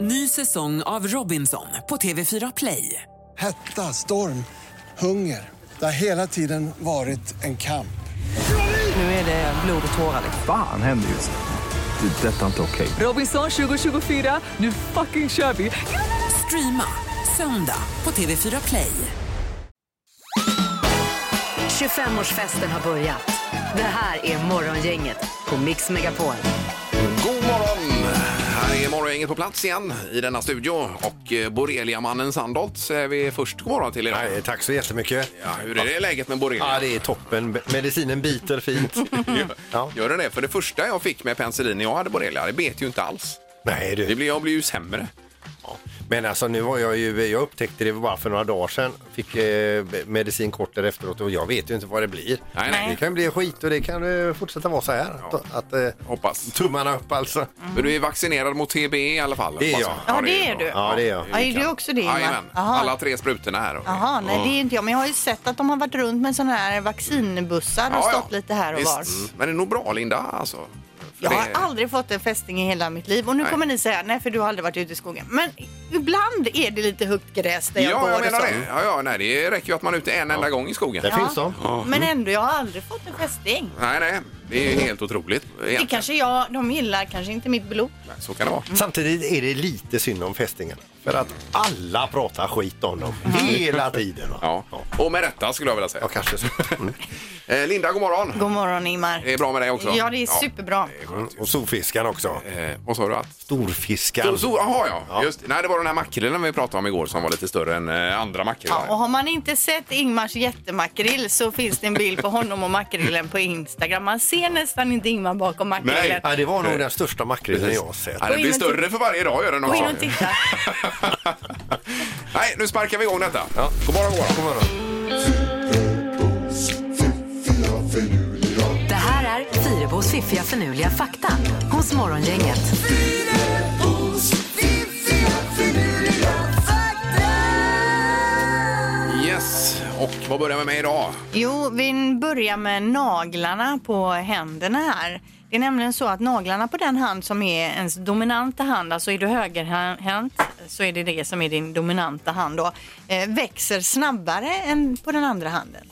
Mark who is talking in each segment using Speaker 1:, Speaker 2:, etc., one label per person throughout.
Speaker 1: Ny säsong av Robinson på TV4 Play.
Speaker 2: Hetta, storm, hunger. Det har hela tiden varit en kamp.
Speaker 1: Nu är det blod och tårar. liksom.
Speaker 3: Fan händer just nu. Det. är Detta är inte okej.
Speaker 1: Robinson 2024, nu fucking kör vi! Streama söndag på TV4 Play.
Speaker 4: 25-årsfesten har börjat. Det här är Morgongänget på Mix Megapol.
Speaker 5: God morgon! Här är morgongänget på plats igen i denna studio och eh, Borreliamannen Sandholt säger vi först god morgon till idag.
Speaker 6: Nej, tack så jättemycket.
Speaker 5: Ja, hur är det läget med
Speaker 6: Ja,
Speaker 5: borrelia? Mm.
Speaker 6: det är toppen. Medicinen biter fint. Ja.
Speaker 5: Gör den det? För det första jag fick med penicillin när jag hade borrelia, det bet ju inte alls.
Speaker 6: Nej
Speaker 5: Det
Speaker 6: du,
Speaker 5: blev, jag blev ju sämre.
Speaker 6: men alltså nu har jag ju, jag upptäckte det bara för några dagar sedan. Fick eh, medicin kort efteråt och jag vet ju inte vad det blir.
Speaker 5: Nej, nej.
Speaker 6: Det kan bli skit och det kan eh, fortsätta vara så här. Att, att, eh,
Speaker 5: Hoppas.
Speaker 6: Tummarna upp alltså.
Speaker 5: Men du är vaccinerad mot TB i alla fall?
Speaker 6: Det är
Speaker 5: hoppas
Speaker 6: jag.
Speaker 7: Ja, det är du.
Speaker 6: Ja, det är jag.
Speaker 7: Ja, är du också det? Ingmar?
Speaker 5: Jajamän,
Speaker 7: Jaha.
Speaker 5: alla tre sprutorna här.
Speaker 7: Jaha, nej det är inte jag. Men jag har ju sett att de har varit runt med sådana här vaccinbussar och stått lite här och
Speaker 5: Visst. Mm.
Speaker 7: var.
Speaker 5: Men det är nog bra Linda alltså. För
Speaker 7: Jag
Speaker 5: det-
Speaker 7: har aldrig fått en fästing i hela mitt liv och nu
Speaker 5: Nej.
Speaker 7: kommer ni säga nej för du har aldrig varit ute i skogen. Men ibland är det liksom- lite högt gräs där jag
Speaker 5: Ja,
Speaker 7: går
Speaker 5: jag menar
Speaker 7: och så.
Speaker 5: det. Ja, ja, nej, det räcker ju att man är ute en enda gång i skogen.
Speaker 6: Där finns de.
Speaker 7: Men
Speaker 5: Mm.
Speaker 7: ändå, jag har aldrig fått en fästing.
Speaker 5: Nej, nej, det är ju helt otroligt.
Speaker 7: Det
Speaker 5: egentligen.
Speaker 7: kanske jag, de gillar kanske inte mitt blod.
Speaker 5: Så kan det vara.
Speaker 6: Samtidigt är det lite synd om fästingarna. För att alla pratar skit om dem hela tiden. va?
Speaker 5: Mm. Ja. Och med rätta skulle jag vilja säga.
Speaker 6: Ja, kanske så. Mm.
Speaker 5: Eh, Linda, god morgon.
Speaker 7: God morgon Ingmar.
Speaker 5: Det är bra med dig också.
Speaker 7: Ja, det är superbra.
Speaker 6: Och storfiskaren också.
Speaker 5: Eh, vad sa du? Att...
Speaker 6: Storfiskaren.
Speaker 5: Så, jaha, ja. Just, nej, det var den här makrillen vi pratade om igår som var lite större än eh, andra makrillar.
Speaker 7: Ja, och har man inte sett Ingmars jättemakrill så finns det en bild på honom och makrillen på Instagram. Man ser nästan inte Ingmar bakom makrillen.
Speaker 6: Ja, det var nog den största makrillen jag har sett.
Speaker 5: Ja, det
Speaker 7: Gå in
Speaker 5: blir
Speaker 7: och
Speaker 5: större för varje dag gör den
Speaker 7: Gå
Speaker 5: också.
Speaker 7: in
Speaker 6: Alltså.
Speaker 7: och titta.
Speaker 5: nej, nu sparkar vi igång detta. God morgon, god morgon.
Speaker 4: Det här är Fyrebos fiffiga förnuliga fakta hos Morgongänget.
Speaker 5: Yes, och vad börjar vi med idag?
Speaker 7: Jo, vi börjar med naglarna på händerna här. Det är nämligen så att naglarna på den hand som är ens dominanta hand, alltså är du högerhänt så är det det som är din dominanta hand då, eh, växer snabbare än på den andra handen.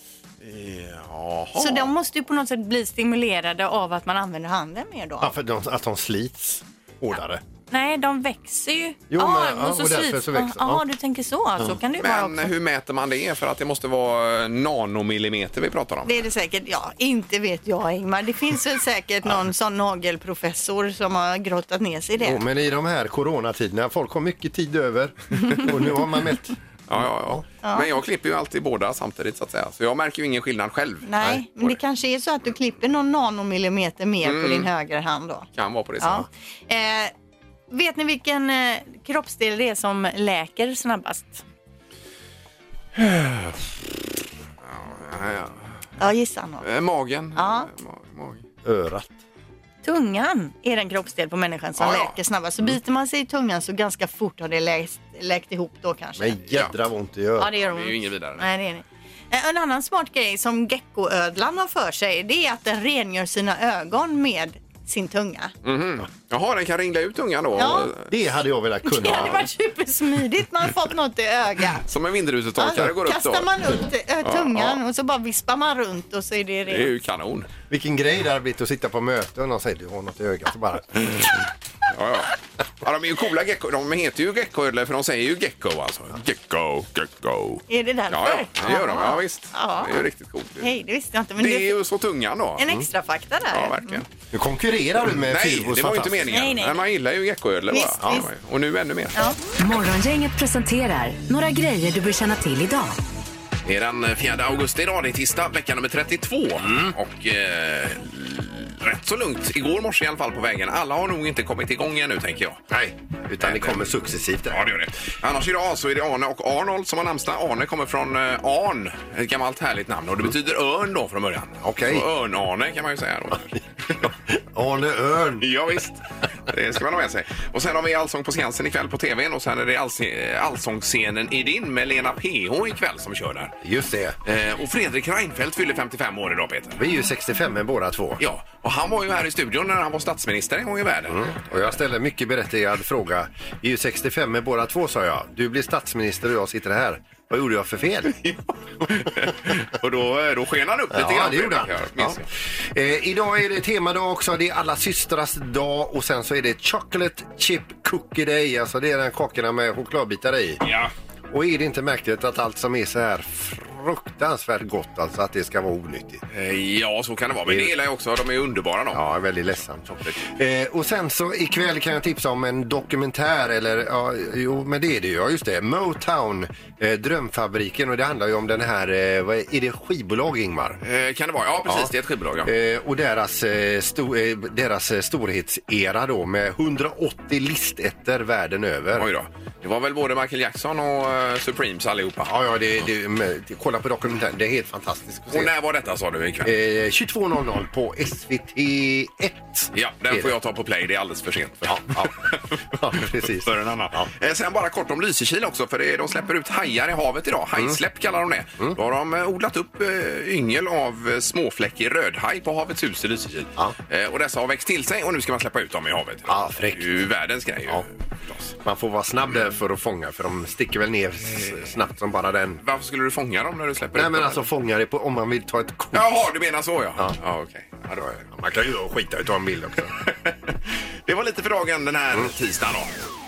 Speaker 7: Så de måste ju på något sätt bli stimulerade av att man använder handen mer då.
Speaker 6: Ja, för de, att de slits hårdare.
Speaker 7: Nej, de växer ju.
Speaker 6: Jo,
Speaker 7: Ja,
Speaker 6: men- ja,
Speaker 7: så
Speaker 6: och därför
Speaker 7: slits-
Speaker 6: så växer-
Speaker 7: Ja,
Speaker 6: ja.
Speaker 7: du tänker så. Så kan det ju vara
Speaker 5: Men
Speaker 7: också.
Speaker 5: hur mäter man det? För att det måste vara eh, nanomillimeter vi pratar om.
Speaker 7: Det är det säkert. Ja, inte vet jag Ingmar. Det finns väl säkert någon sån nagelprofessor som har grottat ner sig i det.
Speaker 6: Jo, men i de här coronatiderna, folk har mycket tid över och nu har man mätt.
Speaker 5: Ja, ja, ja. Men jag klipper ju alltid båda samtidigt så att säga. Så jag märker ju ingen skillnad själv.
Speaker 7: Nej, men det kanske är så att du klipper någon nanomillimeter mer på din högra hand då.
Speaker 5: kan vara på det
Speaker 7: Ja.
Speaker 5: sättet.
Speaker 7: Eh, vet ni vilken eh, kroppsdel det är som läker snabbast?
Speaker 5: Ja, ja.
Speaker 7: Ja, gissa någon.
Speaker 5: Eh, Magen.
Speaker 7: Ja.
Speaker 5: Eh, ma- mag.
Speaker 6: Örat.
Speaker 7: Tungan är den kroppsdel på människan som
Speaker 5: Ja, ja.
Speaker 7: läker snabbast. Så biter man sig i tungan så ganska fort har det läkt, läkt ihop då kanske.
Speaker 6: Men jädra vad ont det gör.
Speaker 7: Ja, det gör
Speaker 5: Det
Speaker 7: ont.
Speaker 5: är ju inget vidare.
Speaker 7: Nej, det är det. Eh, En annan smart grej som geckoödlan har för sig det är att den rengör sina ögon med sin tunga.
Speaker 5: Mm. Mhm. Jaha, den kan ringla ut ungan då?
Speaker 7: Ja.
Speaker 6: Det hade jag velat kunna.
Speaker 7: Det hade varit supersmidigt. Man har fått något i ögat.
Speaker 5: Som en vindrutetorkare går upp då?
Speaker 7: kastar man upp t- ö, tungan och så bara vispar man runt och så är det
Speaker 5: Det är
Speaker 7: rent.
Speaker 5: ju kanon.
Speaker 6: Vilken grej det hade blivit att sitta på möten och säga du har något i ögat. Så bara,
Speaker 5: Ja, ja. Ja, de är ju coola gecko. De heter ju geckoödlor för de säger ju gecko alltså. Gecko, gecko.
Speaker 7: Är det därför?
Speaker 5: Ja, ja. det gör de. Ja, visst.
Speaker 7: Ja.
Speaker 5: Det är ju riktigt coolt.
Speaker 7: Hej, det visste jag inte. Men
Speaker 5: Det är
Speaker 7: det är
Speaker 5: ju så tungan då.
Speaker 7: en extra fakta där. Mm.
Speaker 5: Ja, verkligen.
Speaker 6: nu konkurrerar du med
Speaker 5: Nej,
Speaker 6: Fyrabos
Speaker 5: det var ju inte
Speaker 6: fantastiska-
Speaker 5: meningen.
Speaker 7: Nej, nej.
Speaker 5: Men man gillar ju geckoödlor bara.
Speaker 7: Visst,
Speaker 5: Ja,
Speaker 7: visst.
Speaker 5: Och nu ännu mer.
Speaker 4: Morgongänget presenterar några grejer du bör känna till idag.
Speaker 5: Det är den 4 augusti idag, det är tisdag, vecka nummer 32. Och eh, rätt så lugnt igår morse i alla fall på vägen. Alla har nog inte kommit igång ännu tänker jag.
Speaker 6: Nej, utan det kommer successivt.
Speaker 5: Ja, det gör det. Annars idag så är det Arne och Arnold som har namnsdag. Arne kommer från eh, Arn, ett gammalt härligt namn. Och det betyder örn då från början.
Speaker 6: Okej.
Speaker 5: Så Örn-Arne kan man ju säga då.
Speaker 6: Arne Örn.
Speaker 5: ja, visst. Det ska man ha med sig. Och sen har vi Allsång på Skansen ikväll på tvn och sen är det allse- Allsångsscenen i din med Lena PH ikväll som kör där.
Speaker 6: Just det.
Speaker 5: Eh, och Fredrik Reinfeldt fyller 55 år idag Peter.
Speaker 6: Vi är ju 65 med båda två.
Speaker 5: Ja, och han var ju här i studion när han var statsminister en gång i världen.
Speaker 6: Och jag ställer en mycket berättigad fråga. Vi är ju 65 med båda två sa jag. Du blir statsminister och jag sitter här. Vad gjorde jag för fel?
Speaker 5: och då, eh, då sken han upp lite
Speaker 6: Ja,
Speaker 5: grann.
Speaker 6: det gjorde han.
Speaker 5: Fredrik, jag
Speaker 6: Ja.
Speaker 5: minns
Speaker 6: Eh, idag är det temadag också. Det är alla systrars dag och sen så är det chocolate chip cookie day. Alltså det är den kakorna med chokladbitar i.
Speaker 5: det. Ja.
Speaker 6: Och är det inte märkligt att allt som är så här fruktansvärt gott, alltså att det ska vara onyttigt?
Speaker 5: Eh, ja, så kan det vara. Men det gillar jag också. De är underbara de.
Speaker 6: Ja, väldigt ledsamt. Eh, och sen så ikväll kan jag tipsa om en dokumentär, eller ja, jo, men det är det ju. Ja, just det. Motown, eh, Drömfabriken och det handlar ju om den här, eh, vad är, är det skivbolag Ingmar?
Speaker 5: Eh, kan det vara? Ja, precis.
Speaker 6: Ja.
Speaker 5: Det är ett skivbolag. Ja.
Speaker 6: Eh, och deras, eh, sto, eh, deras eh, storhetsera då med 180 listetter världen över.
Speaker 5: Oj då. Det var väl både Michael Jackson och eh, Supremes allihopa.
Speaker 6: Ja, ja, det, det, men, kolla på dokumentären. Det är helt fantastiskt att se.
Speaker 5: Och när var detta sa du ikväll?
Speaker 6: Eh, 22.00 på SVT1.
Speaker 5: Ja, den får jag ta på play. Det är alldeles för sent.
Speaker 6: Ja, ja. ja precis.
Speaker 5: För en annan.
Speaker 6: Ja.
Speaker 5: Eh, Sen bara kort om Lysekil också, för det- de släpper ut hajar i havet idag.
Speaker 6: Mm.
Speaker 5: Hajsläpp kallar de det. Då har de eh, odlat upp eh, yngel av eh, småfläckig rödhaj på Havets hus i Lysekil.
Speaker 6: Ja.
Speaker 5: Eh, Och dessa har växt till sig och nu ska man släppa ut dem i havet.
Speaker 6: Ja, fräckt.
Speaker 5: Det är ju världens grej. ju,
Speaker 6: Ja.
Speaker 5: förstås.
Speaker 6: Man får vara snabb där för att fånga för de sticker väl ner s- snabbt som bara den.
Speaker 5: Varför skulle du fånga dem när du släpper
Speaker 6: Nej
Speaker 5: ut
Speaker 6: men
Speaker 5: dem?
Speaker 6: alltså fånga det på, om man vill ta ett kort.
Speaker 5: Jaha, du menar så ja.
Speaker 6: Ja.
Speaker 5: ja okej. Ja, då är det.
Speaker 6: Man kan ju skita i att ta en bild också.
Speaker 5: det var lite för dagen den här
Speaker 6: Mm.
Speaker 5: tisdagen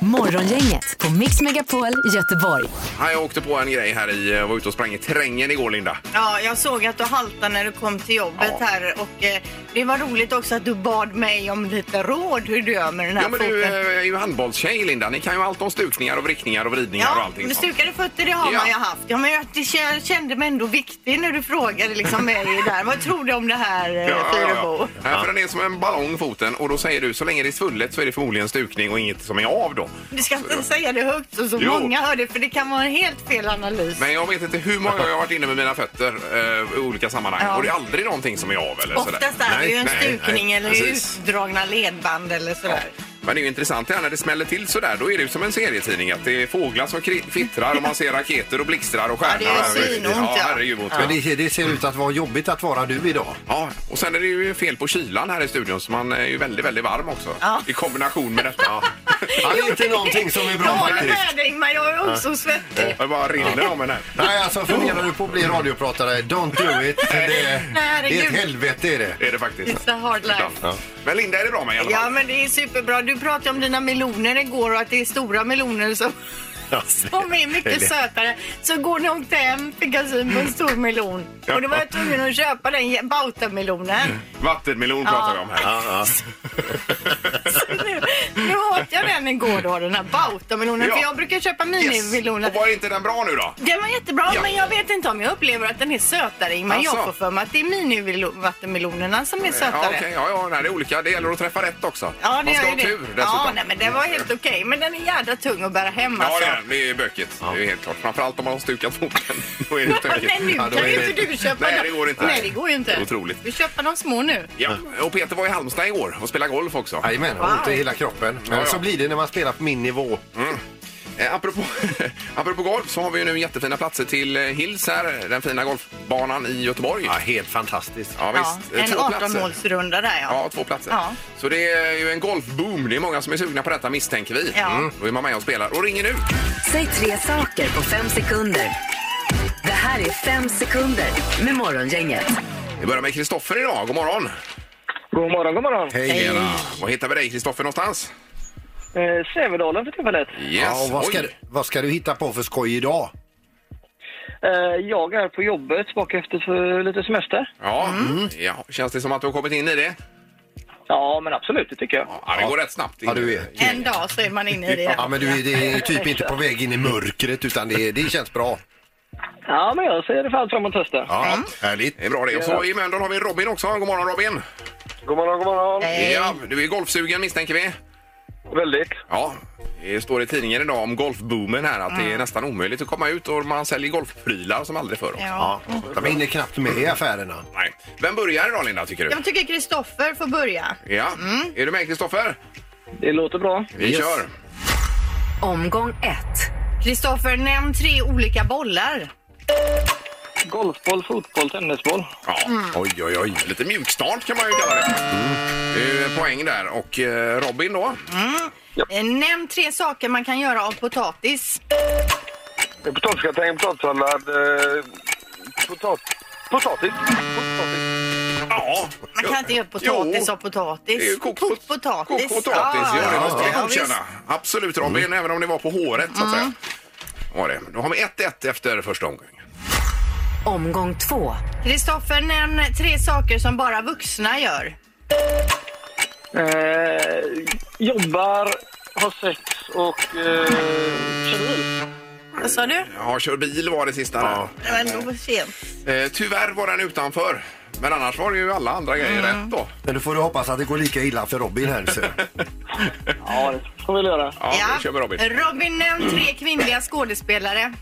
Speaker 5: då.
Speaker 4: Morgongänget på Mix Megapol Göteborg.
Speaker 5: Ja, jag åkte på en grej här i, jag var ute och sprang i terrängen igår Linda.
Speaker 7: Ja, jag såg att du haltade när du kom till jobbet
Speaker 5: Ja.
Speaker 7: här och eh, det var roligt också att du bad mig om lite råd hur du gör med den här
Speaker 5: Ja men
Speaker 7: foten.
Speaker 5: du eh, är ju handbollstjej Linda, ni kan ju allt om stukningar och vrickningar och vridningar och
Speaker 7: Ja,
Speaker 5: allting
Speaker 7: men
Speaker 5: sånt.
Speaker 7: stukade fötter det har
Speaker 5: Ja.
Speaker 7: man ju haft. Ja, men jag det kä- jag kände mig ändå viktig när du frågade liksom mig där. Vad tror du om det här eh, Fyrebo?
Speaker 5: Nej, för den är som en ballong foten och då säger du så länge det är svullet så är det förmodligen stukning och inget som är av då.
Speaker 7: Du ska inte säga det högt så, så
Speaker 5: Jo.
Speaker 7: många hör det för det kan vara en helt fel analys.
Speaker 5: Men jag vet inte hur många gånger jag har varit inne med mina fötter eh, i olika sammanhang
Speaker 7: Ja.
Speaker 5: och det är aldrig någonting som är av eller sådär.
Speaker 7: Oftast är det ju en
Speaker 5: Nej, nej,
Speaker 7: stukning
Speaker 5: nej,
Speaker 7: eller
Speaker 5: precis.
Speaker 7: utdragna ledband eller sådär.
Speaker 5: Men det är ju intressant det här när det smäller till sådär, då är det ju som en serietidning att det är fåglar som kri- kvittrar och man ser raketer och blixtrar och stjärnor.
Speaker 7: det är ju svinont,
Speaker 5: ja.
Speaker 7: ja.
Speaker 5: herregud, vad ont.
Speaker 6: Men det, det ser ut att vara jobbigt att vara du idag.
Speaker 5: Ja, och sen är det ju fel på kylan här i studion så man är ju väldigt, väldigt varm också.
Speaker 7: Ja.
Speaker 5: I kombination med detta. Ja.
Speaker 6: Ja, det är inte någonting som är bra
Speaker 7: Jag håller
Speaker 6: faktiskt.
Speaker 7: med dig, men jag är också svettig.
Speaker 5: Det bara rinner om en här.
Speaker 6: Nej, alltså funderar du på att bli radiopratare, don't do it. Det, det är ett
Speaker 7: herregud.
Speaker 6: helvete är det.
Speaker 5: Det är det faktiskt.
Speaker 7: It's a hard life.
Speaker 5: Ja. Men Linda är det bra med i alla
Speaker 7: Ja,
Speaker 5: fall.
Speaker 7: men det är superbra. Du pratade om dina meloner igår och att det är stora meloner som, som är mycket sötare. Så går ni åkte hem fick jag syn på en stor melon. Och då var jag tvungen att köpa den bautamelonen.
Speaker 5: Mm. Vattenmelon pratar vi om här.
Speaker 7: Så nu, nu åt jag den igår då, den här bautamelonen.
Speaker 5: Ja.
Speaker 7: För jag brukar köpa minimeloner.
Speaker 5: Och var inte den bra nu då?
Speaker 7: Den var jättebra,
Speaker 5: Ja.
Speaker 7: men jag vet inte om jag upplever att den är sötare. Ingmar.
Speaker 5: Alltså.
Speaker 7: jag får för mig att det är minivattenmelonerna som är sötare.
Speaker 5: Ja, okej. ja, ja, nej, det är olika. Det gäller att träffa rätt också.
Speaker 7: Ja, det
Speaker 5: man ska
Speaker 7: gör
Speaker 5: ha
Speaker 7: ju
Speaker 5: tur
Speaker 7: det. Ja,
Speaker 5: dessutom. Mm.
Speaker 7: nej, men det var helt okej. Men den är jädra tung att bära hem
Speaker 5: Ja,
Speaker 7: alltså.
Speaker 5: det är, det är bökigt. Det är ju helt klart. Framförallt om man har stukat foten. Då är det
Speaker 7: Ja,
Speaker 5: stökigt.
Speaker 7: men nu
Speaker 6: Ja, då
Speaker 7: kan
Speaker 6: är
Speaker 7: ju
Speaker 6: det-
Speaker 7: inte du köpa
Speaker 5: Nej,
Speaker 7: dem.
Speaker 5: det går inte.
Speaker 7: Nej, det går ju inte.
Speaker 5: Det är otroligt.
Speaker 7: Du köper de små nu.
Speaker 5: Ja, och Peter var i Halmstad igår och spelade golf också.
Speaker 6: Jajamän, wow. ont i hela kroppen.
Speaker 5: Ja,
Speaker 6: Men
Speaker 5: ja.
Speaker 6: så blir det när man spelar på min nivå.
Speaker 5: Eh, apropå, apropå golf så har vi ju nu jättefina platser till eh, Hills här, den fina golfbanan i Göteborg.
Speaker 6: Ja, helt fantastiskt.
Speaker 5: Ja, visst.
Speaker 7: en
Speaker 5: Två platser.
Speaker 7: 18-hålsrunda där ja.
Speaker 5: Ja, två platser.
Speaker 7: Ja.
Speaker 5: Så det är ju en golfboom. Det är många som är sugna på detta misstänker vi. Mm.
Speaker 7: Ja.
Speaker 5: Då är man med och spelar. Och ringer nu!
Speaker 4: Säg tre saker på fem sekunder. Det här är fem sekunder med Morgongänget.
Speaker 5: Vi börjar med Kristoffer idag. God morgon!
Speaker 8: God morgon, god morgon.
Speaker 6: Hej.
Speaker 5: Tjena. Var hittar vi dig Kristoffer någonstans?
Speaker 8: Eh, Sävedalen för tillfället.
Speaker 5: Yes.
Speaker 6: Ja, och vad, ska,
Speaker 5: Oj.
Speaker 6: du- vad ska du hitta på för skoj idag?
Speaker 8: Eh, jag är på jobbet, tillbaka efter för lite semester.
Speaker 5: Ja. ja, känns det som att du har kommit in i det?
Speaker 8: Ja, men absolut, det tycker jag.
Speaker 5: Ja, det går rätt snabbt. in.
Speaker 6: Ja, du är.
Speaker 7: En dag så är man inne i det.
Speaker 6: Ja, men du är, det är typ inte på väg in i mörkret utan det, det känns bra.
Speaker 8: Ja, men jag ser det fan fram emot testa.
Speaker 6: Ja, härligt.
Speaker 5: Det är bra det. Och så i Mölndal har vi Robin också. God morgon Robin!
Speaker 8: God morgon, god morgon.
Speaker 7: Hej.
Speaker 5: Ja, du är golfsugen misstänker vi.
Speaker 8: Väldigt.
Speaker 5: Ja, det står i tidningen idag om golfboomen här att
Speaker 7: Mm.
Speaker 5: det är nästan omöjligt att komma ut och man säljer golfprylar som aldrig förr. också.
Speaker 7: Ja.
Speaker 6: Ja, de hinner knappt med i affärerna.
Speaker 5: Nej. Vem börjar idag Linda tycker du?
Speaker 7: Jag tycker Kristoffer får börja.
Speaker 5: Ja, är du med Kristoffer?
Speaker 8: Det låter bra.
Speaker 5: Vi kör.
Speaker 4: Omgång ett.
Speaker 7: Kristoffer, nämn tre olika bollar.
Speaker 8: Golfboll, fotboll, tennisboll.
Speaker 5: Ja. Oj, oj, oj. Lite mjukstart kan man ju kalla det. Det är ju Poäng där. Och eh, Robin då?
Speaker 7: Eh, Nämn tre saker man kan göra av potatis.
Speaker 9: Potatisgratäng, potatissallad, eh, potat potatis. potatis.
Speaker 5: Ja.
Speaker 7: Man kan inte göra potatis
Speaker 5: Jo.
Speaker 7: av potatis.
Speaker 5: Det är ju kokt pot-
Speaker 7: potatis.
Speaker 5: Kokt potatis, ja, det måste vi
Speaker 7: ja,
Speaker 5: godkänna.
Speaker 7: visst. Mm.
Speaker 5: Absolut Robin, även om det var på håret så att säga. Var det. Då har vi 1-1 efter första omgången.
Speaker 4: Omgång två.
Speaker 7: Kristoffer, nämn tre saker som bara vuxna gör.
Speaker 8: Eh, jobbar, har sex och eh, kör bil.
Speaker 7: Vad sa du?
Speaker 5: Ja, kör bil var det sista där.
Speaker 7: Det var ändå sent.
Speaker 5: Eh, tyvärr var den utanför. Men annars var det ju alla andra grejer
Speaker 7: Mm.
Speaker 5: rätt då.
Speaker 6: Men då får du hoppas att det går lika illa för Robin här. Så.
Speaker 8: Ja, det får vi väl göra.
Speaker 5: Ja, då kör vi Robin. Mm.
Speaker 7: Robin, nämn tre kvinnliga skådespelare.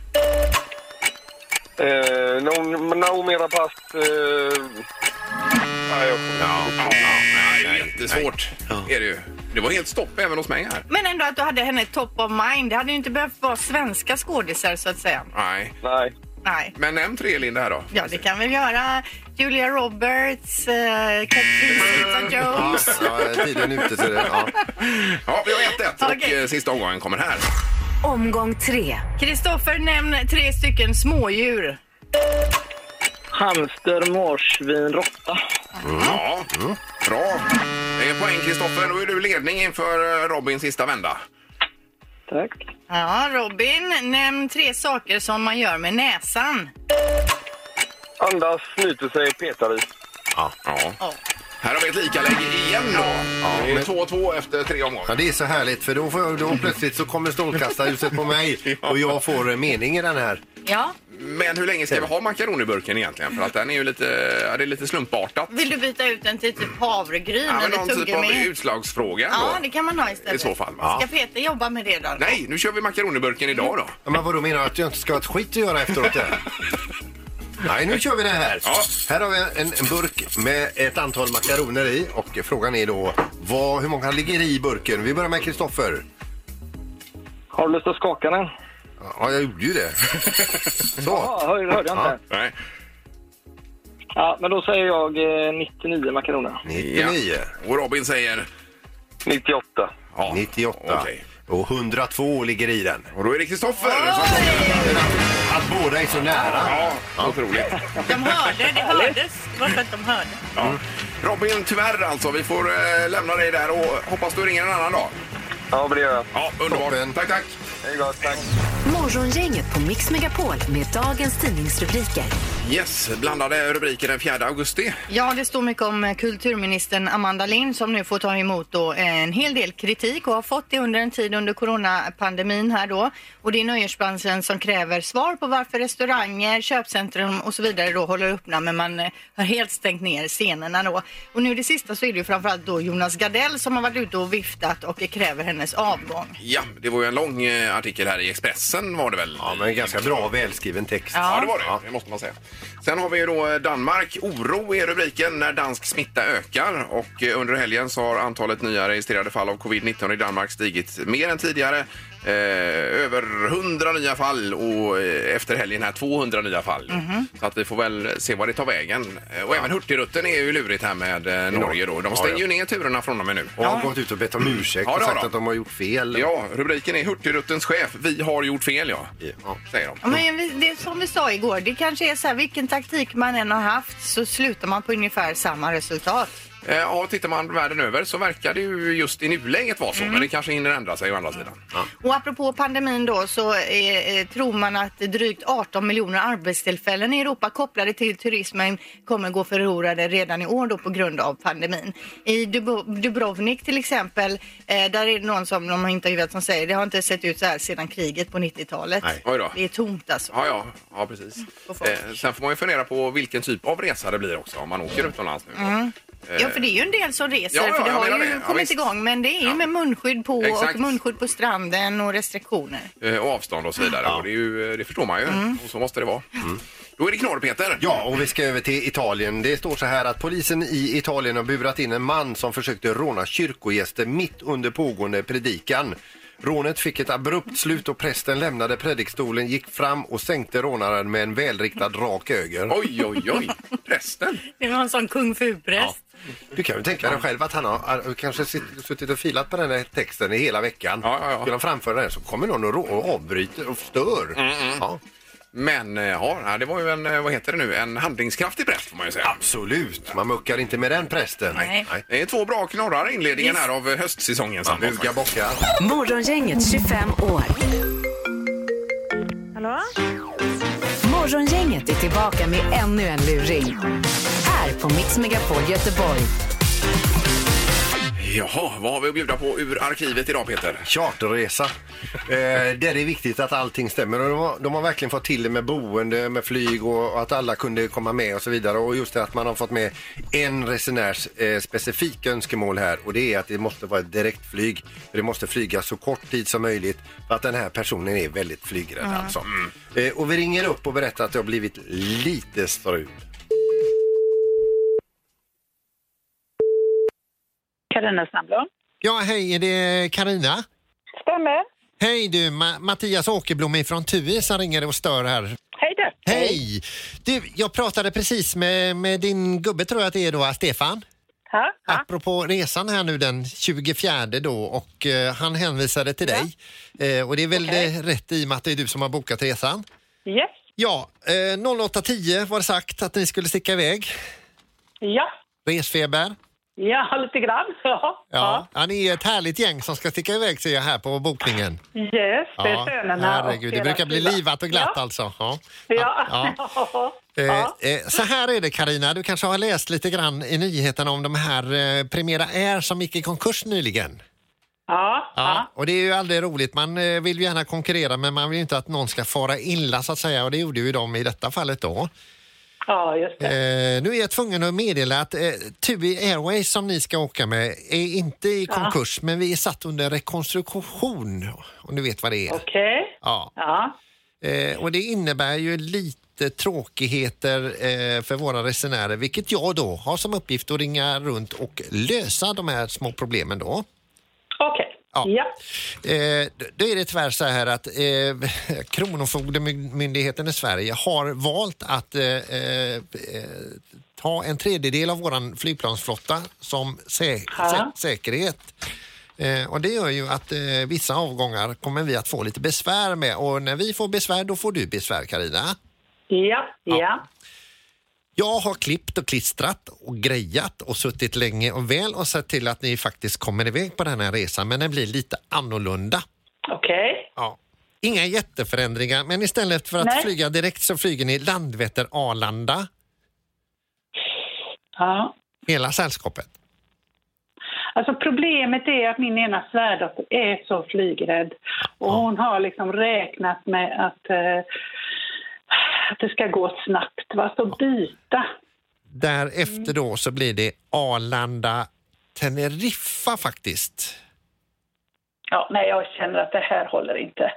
Speaker 9: Eh, Naomi- Naomi Rapace. Eh, nej, jag får-
Speaker 5: Ja, ja, nej, det är jättesvårt. Är det, ju. det var helt stopp även hos mig här.
Speaker 7: Men ändå att du hade henne top of mind. Det hade ju inte behövt vara svenska skådisar så att säga.
Speaker 5: Nej.
Speaker 9: nej.
Speaker 7: Nej.
Speaker 5: Men nämn tre Linda här då.
Speaker 7: Ja, det kan vi göra. Julia Roberts, eh, Catherine
Speaker 6: Ja,
Speaker 7: Zeta-Jones.
Speaker 6: ja, tiden är ute. Så det, ja.
Speaker 5: Ja, vi har 1-1 och
Speaker 7: Okej.
Speaker 5: eh, sista omgången kommer här.
Speaker 4: Omgång tre.
Speaker 7: Kristoffer, nämn tre stycken smådjur.
Speaker 8: Hamster, marsvin, råtta.
Speaker 5: Ja, bra. Det är poäng Kristoffer. Då är du i ledning inför eh, Robins sista vända.
Speaker 8: Tack.
Speaker 7: Ja, Robin, nämn tre saker som man gör med näsan.
Speaker 9: Andas, snyter sig, petar i.
Speaker 5: Ja.
Speaker 7: Ja.
Speaker 5: Här har vi ett likaläge igen då. det är 2-2 efter tre
Speaker 6: Ja,
Speaker 5: omgångar.
Speaker 6: det är så härligt för då, får jag, då plötsligt så kommer strålkastarljuset på mig och jag får en mening i den här.
Speaker 7: Ja,
Speaker 5: Men hur länge ska vi ha makaroniburken egentligen? För att den är ju lite, ja, det är lite slumpartat.
Speaker 7: vill du byta ut den till typ havregryn
Speaker 5: Ja, men
Speaker 7: eller
Speaker 5: någon typ av
Speaker 7: tuggummi?
Speaker 5: utslagsfråga
Speaker 7: Ja, det
Speaker 5: då.
Speaker 7: kan man ha istället.
Speaker 5: I så fall, va?
Speaker 7: Ska Peter jobba med det då?
Speaker 5: Nej, nu kör vi makaroniburken idag då.
Speaker 6: Ja, men vadå menar du att jag inte ska ha ett skit att göra efteråt? Där? Nej, nu kör vi det här.
Speaker 5: Ja.
Speaker 6: Här har vi en, en burk med ett antal makaroner i och frågan är då vad, hur många ligger i burken? Vi börjar med Kristoffer.
Speaker 8: Har du lust att skaka den?
Speaker 6: Ja, jag gjorde ju det. Så.
Speaker 8: Ja, hör, hörde jag inte.
Speaker 5: Nej.
Speaker 8: Ja, men då säger jag eh, 99 makaroner.
Speaker 6: 99,
Speaker 5: Och Robin säger?
Speaker 9: 98.
Speaker 5: Ja.
Speaker 6: 98
Speaker 5: Okej.
Speaker 6: och 102 ligger i den.
Speaker 5: Och då är det Kristoffer som kommer.
Speaker 6: Att båda är så nära.
Speaker 5: Ja, otroligt.
Speaker 7: De hörde, det hördes. Det var för att de hörde.
Speaker 5: Ja. Robin, tyvärr alltså. Vi får eh, lämna dig där och hoppas du ringer en annan dag.
Speaker 9: Ja, men det gör jag.
Speaker 5: Ja, underbart.
Speaker 6: Toppen.
Speaker 5: Tack, tack.
Speaker 9: Det är gott, tack.
Speaker 4: Morgongänget på Mix Megapol med dagens tidningsrubriker.
Speaker 5: Yes, blandade rubriker den 4 augusti.
Speaker 7: Ja, det står mycket om eh, kulturministern Amanda Lind som nu får ta emot då eh, en hel del kritik och har fått det under en tid under coronapandemin här då. Och det är nöjesbranschen som kräver svar på varför restauranger, köpcentrum och så vidare då håller öppna men man eh, har helt stängt ner scenerna då. Och nu det sista så är det ju framförallt då Jonas Gardell som har varit ute och viftat och eh, kräver hennes avgång.
Speaker 5: Ja, det var ju en lång eh, artikel här i Expressen var det väl?
Speaker 6: Ja, men ganska bra välskriven text.
Speaker 5: Ja, det var det. Det måste man säga. Sen har vi ju då eh, Danmark. Oro är rubriken när dansk smitta ökar. Och eh, under helgen så har antalet nya registrerade fall av covid-19 i Danmark stigit mer än tidigare. Eh, över 100 nya fall och eh, efter helgen här 200 nya fall. Så att vi får väl se vad det tar vägen. Eh, och även Hurtigrutten är ju lurigt här med eh, Norge då. De stänger
Speaker 6: ja.
Speaker 5: ju ner turerna från och med nu.
Speaker 6: Och har gått ut och bett om ursäkt
Speaker 5: Ja,
Speaker 6: och
Speaker 5: det har
Speaker 6: sagt
Speaker 5: de.
Speaker 6: att de har gjort fel.
Speaker 5: Ja, rubriken är Hurtigruttens chef. Vi har gjort fel, ja. Säger de.
Speaker 7: Ja, Men vi- det är som vi sa igår, det kanske är så här vilken taktik man än har haft så slutar man på ungefär samma resultat.
Speaker 5: Eh, Ja, tittar man världen över så verkar det ju just i nuläget vara så, men det kanske hinner ändra sig å andra sidan.
Speaker 7: Och apropå pandemin då så eh, eh, tror man att drygt 18 miljoner arbetstillfällen i Europa kopplade till turismen kommer gå förlorade redan i år då på grund av pandemin. I Dub- Dubrovnik till exempel, eh, där är det någon som de har intervjuat som säger det har inte sett ut så här sedan kriget på 90-talet.
Speaker 6: Nej.
Speaker 5: Oj då.
Speaker 7: Det är tomt alltså.
Speaker 5: Ja, ja, ja precis.
Speaker 7: och folk.
Speaker 5: Eh, sen får man ju fundera på vilken typ av resa det blir också om man åker utomlands nu.
Speaker 7: Ja, för det är ju en del som reser,
Speaker 5: Ja, ja,
Speaker 7: för det
Speaker 5: jag
Speaker 7: har
Speaker 5: menar
Speaker 7: ju
Speaker 5: det. Ja,
Speaker 7: kommit
Speaker 5: visst.
Speaker 7: igång. Men det är ju
Speaker 5: Ja.
Speaker 7: med munskydd på
Speaker 5: Exakt.
Speaker 7: och munskydd på stranden och restriktioner.
Speaker 5: Eh, och avstånd och så vidare. Och det, är ju, eh, det förstår man ju. Och så måste det vara. Då är det knorr, Peter.
Speaker 10: Ja, och vi ska över till Italien. Det står så här att polisen i Italien har burat in en man som försökte råna kyrkogäster mitt under pågående predikan. Rånet fick ett abrupt slut och prästen lämnade predikstolen, gick fram och sänkte rånaren med en välriktad rak öger.
Speaker 5: Oj, oj, oj. Prästen.
Speaker 7: Det var en sån kung fu-präst.
Speaker 10: Du kan ju tänka dig själv att han har har kanske sitt- suttit och filat på den här texten i hela veckan.
Speaker 5: Ja, ja, ja.
Speaker 10: Skulle han framföra den så kommer någon och, rå- och avbryter och stör.
Speaker 5: Mm,
Speaker 10: Ja,
Speaker 5: Men eh, ja, det var ju en, eh, vad heter det nu, en handlingskraftig präst får man ju säga.
Speaker 10: absolut, man muckar inte med den prästen.
Speaker 7: Nej.
Speaker 5: Det är två bra knorrar i inledningen här av eh, höstsäsongen. Ja,
Speaker 10: Buga bockar.
Speaker 4: Morgongänget 25 år. Morgongänget är tillbaka med ännu en luring. Här på Mix Megapol Göteborg.
Speaker 5: Jaha, vad har vi att bjuda på ur arkivet idag Peter?
Speaker 10: Charterresa. Eh, där det är viktigt att allting stämmer. Och de, har, de har verkligen fått till det med boende, med flyg och, och att alla kunde komma med och så vidare. Och just det att man har fått med en resenärs eh, specifika önskemål här och det är att det måste vara ett direktflyg. För Det måste flyga så kort tid som möjligt för att den här personen är väldigt flygrädd alltså. Eh, och vi ringer upp och berättar att det har blivit lite strul.
Speaker 11: Carina Sandblom.
Speaker 6: Ja, hej, är det Karina?
Speaker 11: Stämmer.
Speaker 6: Hej du, Ma- Mattias Åkerblom från TUI som ringer och stör här.
Speaker 11: Hej du.
Speaker 6: Hej! Du, jag pratade precis med, med din gubbe tror jag att det är då, Stefan.
Speaker 11: Ha, ha.
Speaker 6: Apropå resan här nu den 24 då och eh, han hänvisade till dig. Eh, och det är väl
Speaker 11: Okej.
Speaker 6: eh, rätt i och med att det är du som har bokat resan.
Speaker 11: Yes.
Speaker 6: Ja, eh, 08.10 var det sagt att ni skulle sticka iväg.
Speaker 11: Ja.
Speaker 6: Resfeber.
Speaker 11: Ja, lite grann. Ja.
Speaker 6: Ja. ja, ni är ett härligt gäng som ska sticka iväg ser jag här på bokningen.
Speaker 11: Yes, det är
Speaker 6: Ja,
Speaker 11: sönerna. och
Speaker 6: herregud, det
Speaker 11: deras
Speaker 6: brukar bli
Speaker 11: fruar.
Speaker 6: livat och glatt
Speaker 11: ja.
Speaker 6: alltså. Ja.
Speaker 11: Ja.
Speaker 6: Ja.
Speaker 11: Ja.
Speaker 6: Eh, eh, Så här är det Karina, du kanske har läst lite grann i nyheterna om de här eh, Primera Air som gick i konkurs nyligen.
Speaker 11: Ja. Ja.
Speaker 6: Och det är ju aldrig roligt, man eh, vill ju gärna konkurrera men man vill ju inte att någon ska fara illa så att säga och det gjorde ju de i detta fallet då.
Speaker 11: ja, just det.
Speaker 6: Eh, nu är jag tvungen att meddela att eh, TUI Airways som ni ska åka med är inte i konkurs men vi är satt under rekonstruktion om du vet vad det är.
Speaker 11: Okej.
Speaker 6: Ja.
Speaker 11: Ja.
Speaker 6: Eh, och det innebär ju lite tråkigheter eh, för våra resenärer, vilket jag då har som uppgift att ringa runt och lösa de här små problemen då.
Speaker 11: Okej.
Speaker 6: Ja.
Speaker 11: Ja.
Speaker 6: Eh, d- då är det tyvärr så här att eh, Kronofogdemyndigheten i Sverige har valt att eh, eh, eh, ta en tredjedel av våran flygplansflotta som sä- sä- säkerhet. Eh, och det gör ju att eh, vissa avgångar kommer vi att få lite besvär med och när vi får besvär då får du besvär Karina.
Speaker 11: Ja. Ja.
Speaker 6: Jag har klippt och klistrat och grejat och suttit länge och väl och sett till att ni faktiskt kommer iväg på den här resan men den blir lite annorlunda.
Speaker 11: Okej.
Speaker 6: Ja. Inga jätteförändringar, men istället för att
Speaker 11: Nej.
Speaker 6: flyga direkt så flyger ni Landvetter-Arlanda,
Speaker 11: Ja.
Speaker 6: hela sällskapet.
Speaker 11: Alltså problemet är att min ena svärdotter är så flygrädd. Och hon har liksom räknat med att, eh, att det ska gå snabbt. Va? Så byta.
Speaker 6: Därefter då så blir det Arlanda-Teneriffa faktiskt.
Speaker 11: Ja, nej, jag känner att det här håller inte.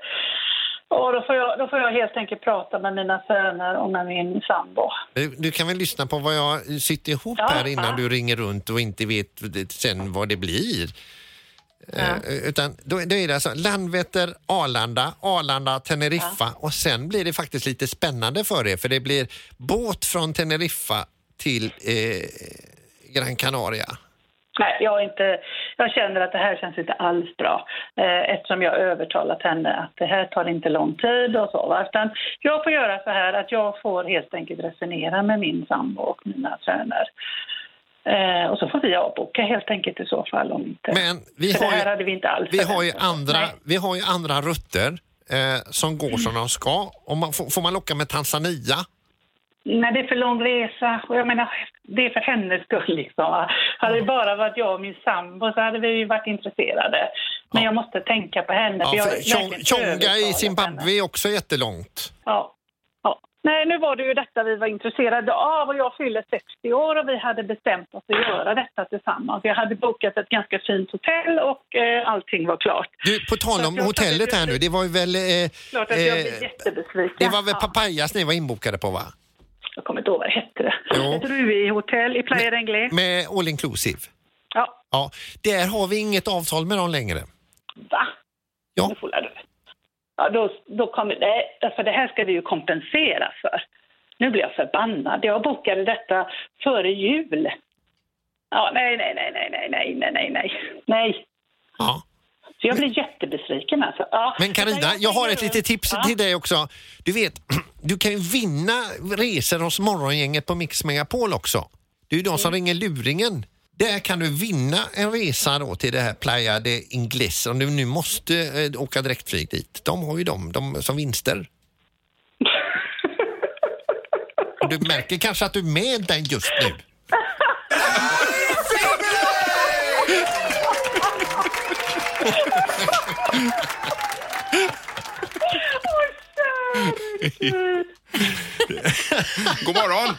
Speaker 11: Och då, får jag, då får jag helt enkelt prata med mina söner och med min sambo.
Speaker 6: Du, Eh, du kan väl lyssna på vad jag sitter ihop
Speaker 11: Ja,
Speaker 6: här innan
Speaker 11: ja.
Speaker 6: du ringer runt och inte vet sen vad det blir. Eh, utan då, då är det alltså Landvetter, Arlanda, Arlanda, Teneriffa och sen blir det faktiskt lite spännande för er för det blir båt från Teneriffa till eh, Gran Canaria.
Speaker 11: Nej, jag, är inte, jag känner att det här känns inte alls bra eh, eftersom jag har övertalat henne att det här tar inte lång tid och så. Va? Utan jag får göra så här att jag får helt enkelt resonera med min sambo och mina söner. Eh, och så får vi avboka helt enkelt i så fall om inte...
Speaker 6: Men vi
Speaker 11: För
Speaker 6: har
Speaker 11: det här
Speaker 6: ju-
Speaker 11: hade vi inte alls
Speaker 6: Vi har ju
Speaker 11: förväntat oss.
Speaker 6: andra,
Speaker 11: Nej. Mm.
Speaker 6: vi har ju andra rutter eh, som går som de ska. Om man, får, får man locka med Tanzania?
Speaker 11: Nej, det är för lång resa. Alltså, Och jag menar, det är för hennes skull. Liksom. va. Hade det bara varit jag och min sambo så hade vi ju varit intresserade. Men jag måste tänka på henne.
Speaker 6: Ja,
Speaker 11: jag
Speaker 6: för
Speaker 11: är verkligen
Speaker 6: Tjong- Tjonga i
Speaker 11: övertalad henne.
Speaker 6: Zimbabwe är också jättelångt.
Speaker 11: Ja. ja. Nej, nu var det ju detta vi var intresserade av och jag fyller 60 år och vi hade bestämt oss att göra detta tillsammans. Jag hade bokat ett ganska fint hotell och eh, allting var klart.
Speaker 12: Du, på tal om
Speaker 11: Så att jag
Speaker 12: hotellet
Speaker 11: tänkte-
Speaker 12: här nu, det var ju väl... Eh,
Speaker 11: Klart att jag blev jättebesviken.
Speaker 12: det var väl Papayas ni var inbokade på va?
Speaker 11: Jag kommer inte ihåg vad det hette.
Speaker 12: Jo,
Speaker 11: Ett Rui-hotell i Playa del Inglés.
Speaker 12: med all inclusive.
Speaker 11: Ja,
Speaker 12: Ja, där har vi inget avtal med dem längre.
Speaker 11: va?
Speaker 12: Ja.
Speaker 11: Nu får jag det. Ja, då, då kommer, nej, för det här ska vi ju kompensera för. Nu blir jag förbannad. Jag bokade detta före jul. Ja, nej, nej, nej, nej, nej, nej, nej, nej, nej. Nej.
Speaker 12: Ja.
Speaker 11: Så jag blir jättebesviken alltså. Ja.
Speaker 12: Men Karina, jag har ett litet tips till dig också. Du vet, du kan ju vinna resor hos Morgongänget på Mix Megapol också. Det är ju de som ringer luringen. Där kan du vinna en resa då till det här Playa de Ingles om du nu måste eh, åka direktflyg dit. De har ju dem de, som vinster. Och du märker kanske att du är med den just nu.
Speaker 5: God morgon!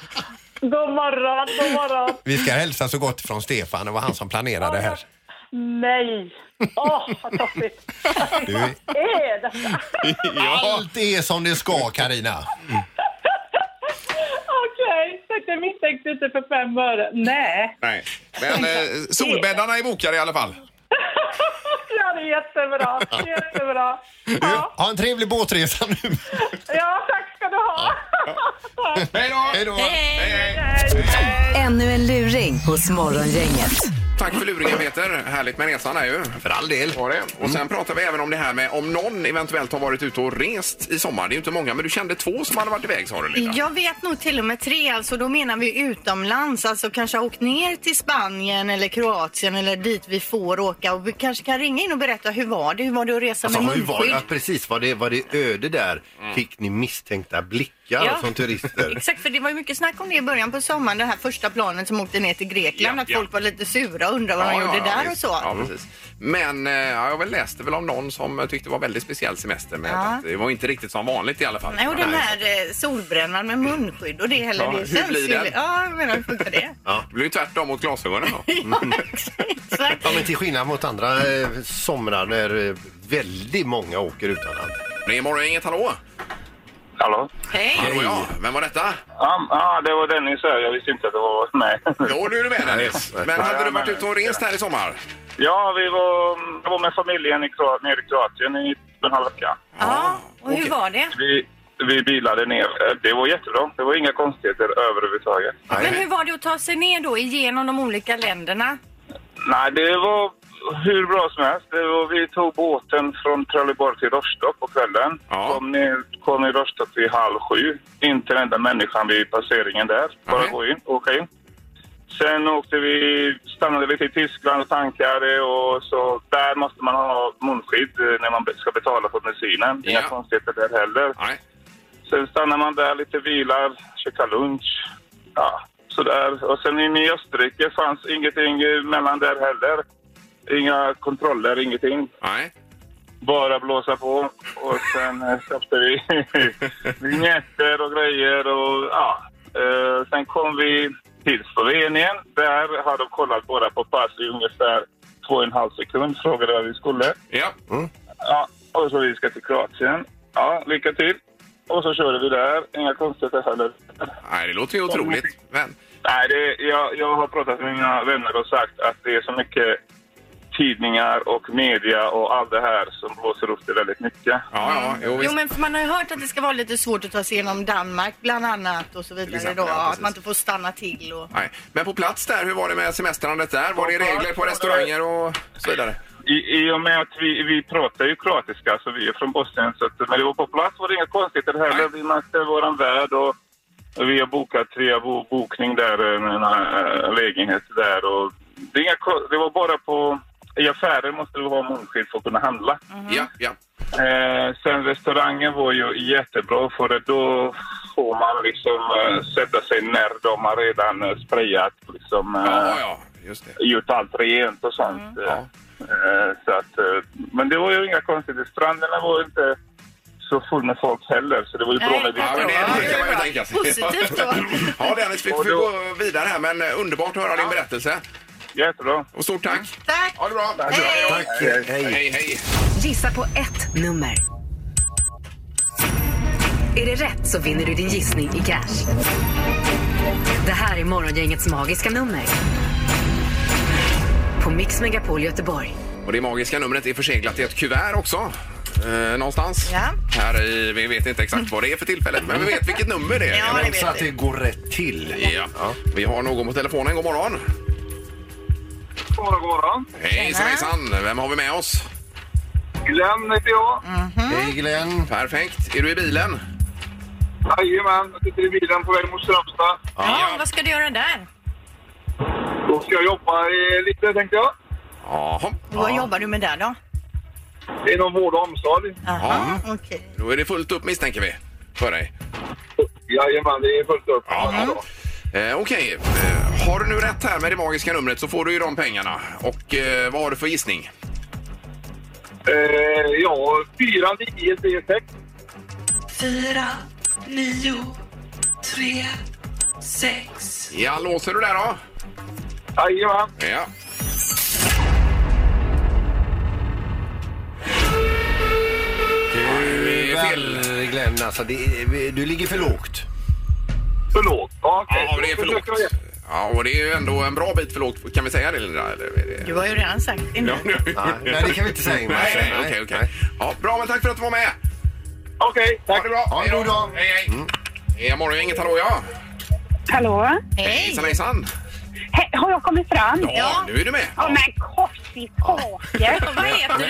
Speaker 11: God morgon, god morgon.
Speaker 12: Vi ska hälsa så gott från Stefan, det var han som planerade det här.
Speaker 11: Nej. Åh, vad toppigt.
Speaker 12: Du är-
Speaker 11: Vad är detta?
Speaker 12: Allt är som det ska Karina.
Speaker 11: Okej, okay. jag misstänkte inte för fem öre. Nej.
Speaker 5: Nej. Men eh, solbäddarna är bokade i alla fall.
Speaker 11: Ja, det är jättebra. Jättebra.
Speaker 12: Ha en trevlig båtresa nu.
Speaker 11: Ja, tack ska du ha.
Speaker 5: Hej då!
Speaker 12: Hej då!
Speaker 4: Ännu en luring hos Morgongänget.
Speaker 5: Tack för luringen Peter. Härligt med resan är ju. För all del. Mm. Var det. Och sen pratar vi även om det här med om någon eventuellt har varit ute och rest i sommar. Det är ju inte många, men du kände två som hade varit iväg sa du Linda.
Speaker 7: Jag vet nog till och med tre, alltså då menar vi utomlands, alltså kanske ha åkt ner till Spanien eller Kroatien eller dit vi får åka och vi kanske kan ringa in och berätta hur var det, hur var det att resa
Speaker 6: Alltså,
Speaker 7: med
Speaker 6: hur var det?
Speaker 7: munskydd?
Speaker 6: Ja, precis, var det, var det öde där? Fick ni misstänkta blickar
Speaker 7: Ja.
Speaker 6: som turister?
Speaker 7: Exakt, för det var ju mycket snack om det i början på sommaren, det här första planet som åkte ner till Grekland,
Speaker 5: Ja,
Speaker 7: att
Speaker 5: ja.
Speaker 7: folk var lite sura och undrade vad de gjorde där
Speaker 5: visst.
Speaker 7: och så.
Speaker 5: Ja, precis. Men eh, ja, jag väl läste väl om någon som eh, tyckte det var väldigt speciell semester. Men
Speaker 7: Ja.
Speaker 5: att det var inte riktigt som vanligt i alla fall.
Speaker 7: Nej, och den här eh, solbrännan med munskydd och det heller.
Speaker 5: Ja,
Speaker 7: det
Speaker 5: hur
Speaker 7: känns
Speaker 5: blir
Speaker 7: ju-
Speaker 5: den?
Speaker 7: Ja, jag menar hur funkar det?
Speaker 5: Ja. Det blir ju tvärtom mot glasögonen då. Mm.
Speaker 7: Exakt.
Speaker 6: Ja, men till skillnad mot andra eh, somrar när eh, väldigt många åker utomlands.
Speaker 5: Det är morgon, inget hallå?
Speaker 9: Hallå?
Speaker 7: Hej!
Speaker 5: Hallå ja, vem var detta?
Speaker 9: Ja, ah, det var Dennis här. Jag visste inte att det var... Nej.
Speaker 5: Jo, nu är du med Dennis. Men hade du varit ute och rest här i sommar?
Speaker 9: Ja, vi var, jag var med familjen i Kroa- nere i Kroatien i en halv vecka.
Speaker 7: Ja, och hur
Speaker 5: okej.
Speaker 7: var det?
Speaker 9: Vi, vi bilade ner. Det var jättebra. Det var inga konstigheter överhuvudtaget.
Speaker 7: Men hur var det att ta sig ner då igenom de olika länderna?
Speaker 9: Nej, det var hur bra som helst. Det var, vi tog båten från Trelleborg till Rostock på kvällen.
Speaker 5: Ja.
Speaker 9: Kom, ner, kom i Rostock vid halv sju. Inte en enda människan vid passeringen där. Bara
Speaker 5: Nej.
Speaker 9: gå in, åka in. Sen åkte vi, stannade lite i Tyskland och tankade och så där måste man ha munskydd eh, när man be- ska betala för bensinen. Inga
Speaker 5: Ja.
Speaker 9: konstigheter där heller.
Speaker 5: Nej.
Speaker 9: Sen stannar man där lite, vilar, käkar lunch. Ja, sådär. Och sen inne i Österrike fanns ingenting eh, mellan där heller. Inga kontroller, ingenting.
Speaker 5: Nej.
Speaker 9: Bara blåsa på. Och sen eh, köpte vi vinjetter och grejer och ja. Eh, sen kom vi till Slovenien. Där har de kollat bara på pass i ungefär två och en halv sekund. Frågade vad vi skulle.
Speaker 5: Ja.
Speaker 9: Ja, och så vi ska till Kroatien. Ja, lycka till. Och så körde vi där. Inga konstigheter heller.
Speaker 5: Nej, det låter ju otroligt. Men,
Speaker 9: Nej, det, jag, jag har pratat med mina vänner och sagt att det är så mycket tidningar och media och allt det här som blåser upp det väldigt mycket.
Speaker 5: ja, ja, jo,
Speaker 7: Mm. Jo
Speaker 5: visst.
Speaker 7: men för man har ju hört att det ska vara lite svårt att ta sig igenom Danmark bland annat och så vidare
Speaker 5: exempel,
Speaker 7: då.
Speaker 5: ja, precis.
Speaker 7: att man inte får stanna till och...
Speaker 5: Nej. Men på plats där, hur var det med semestrandet där? Var det regler på restauranger och så vidare?
Speaker 9: I, I och med att vi, vi pratar ju kroatiska, så vi är från Bosnien. Så att, när vi var på plats var det inga konstigheter heller. Vi mötte vår värd och vi har bokat tre bo, bokning där, eh, en äh, lägenhet där. Och det, är inga, ko- det var bara på... I affärer måste du ha munskydd för att kunna handla.
Speaker 5: Ja, ja.
Speaker 9: Eh, sen restaurangen var ju jättebra för att då får man liksom eh, sätta sig när de har redan eh, sprayat liksom, eh,
Speaker 5: Ja, ja, just det.
Speaker 9: gjort allt rent och sånt.
Speaker 5: Mm.
Speaker 9: Eh, eh, Så att, eh, men det var ju inga konstigheter. Stränderna var inte så full med folk heller, så det var ju bra med
Speaker 5: Ja, men det, det kan man ju tänka sig.
Speaker 9: Positivt
Speaker 5: då. Ja, Dennis, vi får gå vidare här, men eh, underbart att höra din berättelse.
Speaker 9: Jättebra.
Speaker 5: Och stort tack.
Speaker 4: Tack!
Speaker 5: Mm. Ha det bra.
Speaker 4: Hej.
Speaker 5: Tack. Hej, hej. hej.
Speaker 4: Gissa på ett nummer. Är det rätt så vinner du din gissning i cash. Det här är Morgongängets magiska nummer. På Mix Megapol Göteborg.
Speaker 5: Och det magiska numret är förseglat i ett kuvert också. Eh, någonstans.
Speaker 4: Ja.
Speaker 5: Här i, vi vet inte exakt vad det är för tillfället, men vi vet vilket nummer det är.
Speaker 6: Ja, det vet Så att vi. det går rätt till.
Speaker 5: Ja. Vi har någon på telefonen. God morgon.
Speaker 9: God morgon, god morgon.
Speaker 5: Hej, hejsan. Vem har vi med oss?
Speaker 9: Glenn heter jag.
Speaker 5: Mm.
Speaker 6: Hej Glenn.
Speaker 5: Perfekt. Är du i bilen?
Speaker 9: Jajamän, jag sitter i bilen på väg mot Strömstad.
Speaker 7: Ja, vad ska du göra där?
Speaker 9: Då ska jag jobba eh, lite, tänkte jag.
Speaker 5: Jaha.
Speaker 7: Vad jobbar du med där då?
Speaker 9: Inom vård och omsorg.
Speaker 5: Ja.
Speaker 7: Okej.
Speaker 5: Då är det fullt upp misstänker vi för dig.
Speaker 9: Jajamän, det är fullt upp.
Speaker 5: Eh, Okej, eh, har du nu rätt här med det magiska numret så får du ju de pengarna. Och eh, vad har du för gissning?
Speaker 9: Eh, ja, 4, 9, 3, 6.
Speaker 13: Fyra, nio, tre, sex.
Speaker 5: Ja, låser du där då?
Speaker 9: Jajamän.
Speaker 5: Ja.
Speaker 6: Du är fel Glenn, alltså, det, är- du ligger för lågt.
Speaker 9: För lågt? Ja,
Speaker 5: ja det är för lågt. Ja, och det är ju ändå en bra bit för lågt. Kan vi säga det Linda? Eller är det...
Speaker 7: Du har ju redan sagt det nu.
Speaker 5: Ja, nu-
Speaker 6: nej, det kan vi inte säga, Ingmar.
Speaker 5: Nej, nej,
Speaker 6: Nej,
Speaker 5: okej, okej. Ja, bra, men tack för att du var med.
Speaker 9: Okej, tack.
Speaker 5: Ha det bra.
Speaker 6: Ha en god dag.
Speaker 5: Hej, hej. Mm. Morgon, inget hallå ja.
Speaker 13: Hallå?
Speaker 5: Hejsan, hejsan.
Speaker 13: He- har jag kommit fram?
Speaker 5: Ja, nu är du med.
Speaker 13: Ja, men kors i taket!
Speaker 7: Vad heter du?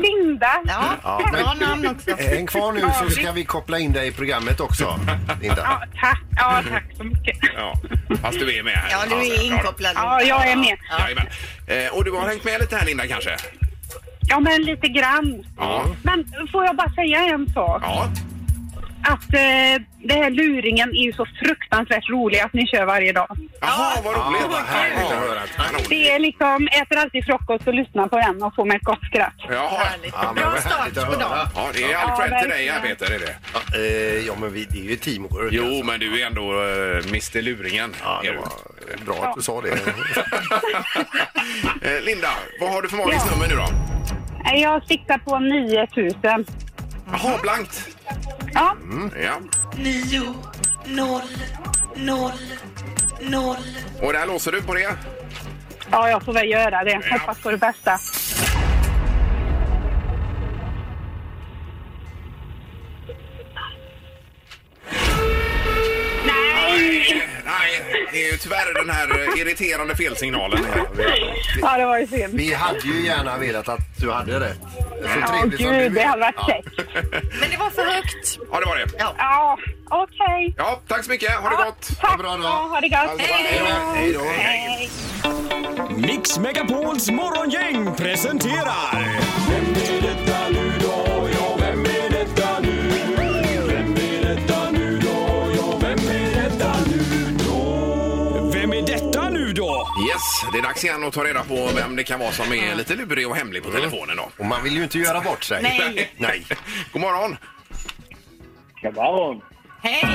Speaker 13: Linda!
Speaker 7: Ja,
Speaker 6: Ja, men-
Speaker 7: bra namn också.
Speaker 6: En Eh, kvar nu så ska vi koppla in dig i programmet också. Linda.
Speaker 13: Ja, tack. ja, tack så mycket.
Speaker 5: Ja, fast du är med här.
Speaker 7: Ja, du
Speaker 5: Alltså,
Speaker 7: är inkopplad.
Speaker 13: Ja, jag är med.
Speaker 5: Ja. Jajamän. Eh, och du har hängt med lite här Linda kanske?
Speaker 13: Ja, men lite grann.
Speaker 5: Ja.
Speaker 13: Men får jag bara säga en sak?
Speaker 5: Ja.
Speaker 13: Att eh, det här luringen är ju så fruktansvärt rolig att ni kör varje dag.
Speaker 5: Jaha, vad roligt.
Speaker 6: Ja, vad härligt att höra.
Speaker 5: Kanon.
Speaker 13: Det är liksom, äter alltid frukost och lyssnar på den och får mig ett gott skratt.
Speaker 5: Jaha.
Speaker 7: Härligt.
Speaker 6: Ja, men
Speaker 7: Bra
Speaker 6: vad härligt
Speaker 7: start
Speaker 6: att
Speaker 7: på
Speaker 6: höra.
Speaker 7: dagen.
Speaker 5: Ja, det är all
Speaker 13: Ja,
Speaker 5: cred till dig
Speaker 13: verkligen.
Speaker 5: här Peter. Är det.
Speaker 6: Ja, eh, ja, men vi, det är ju teamwork.
Speaker 5: Jo,
Speaker 6: alltså.
Speaker 5: men du är ändå eh, Mr Luringen.
Speaker 6: Ja,
Speaker 5: är
Speaker 6: det
Speaker 5: du.
Speaker 6: var bra att du sa det.
Speaker 5: Eh, Linda, vad har du för magiskt nummer nu då?
Speaker 13: Eh, Jag siktar på 9000.
Speaker 5: Jaha, blankt. Mm,
Speaker 13: Ja,
Speaker 5: Ja.
Speaker 13: Nio, noll, noll, noll.
Speaker 5: Och där låser du på det?
Speaker 13: Ja, jag får väl göra det. Hoppas på det bästa. Nej!
Speaker 5: Nej, det är ju tyvärr den här eh, irriterande felsignalen. här.
Speaker 13: Ja, det var ju synd.
Speaker 6: Vi hade ju gärna velat att du hade rätt. Så
Speaker 13: Åh,
Speaker 6: trevligt som du är.
Speaker 13: gud, det hade varit
Speaker 6: Ja.
Speaker 13: käckt.
Speaker 7: Men det var för högt.
Speaker 5: Ja, det var det.
Speaker 13: Ja, okej.
Speaker 5: Ja, tack så mycket. Ha det Alltså, gott.
Speaker 13: Tack.
Speaker 6: bra då.
Speaker 13: Ja, Ha det gott.
Speaker 6: Hej då.
Speaker 13: Hej.
Speaker 14: Mix Megapols morgongäng presenterar... Vem är detta nu då? Ja, vem är detta nu? Vem är detta nu då? Ja, vem är detta nu då? Vem är detta nu då?
Speaker 5: Yes, det är dags igen att ta reda på vem det kan vara som är lite lurig och hemlig på
Speaker 14: Mm.
Speaker 5: telefonen då.
Speaker 6: Och man vill ju inte göra bort sig.
Speaker 7: Nej.
Speaker 6: Nej.
Speaker 5: God morgon.
Speaker 9: Kabaron.
Speaker 7: Hej!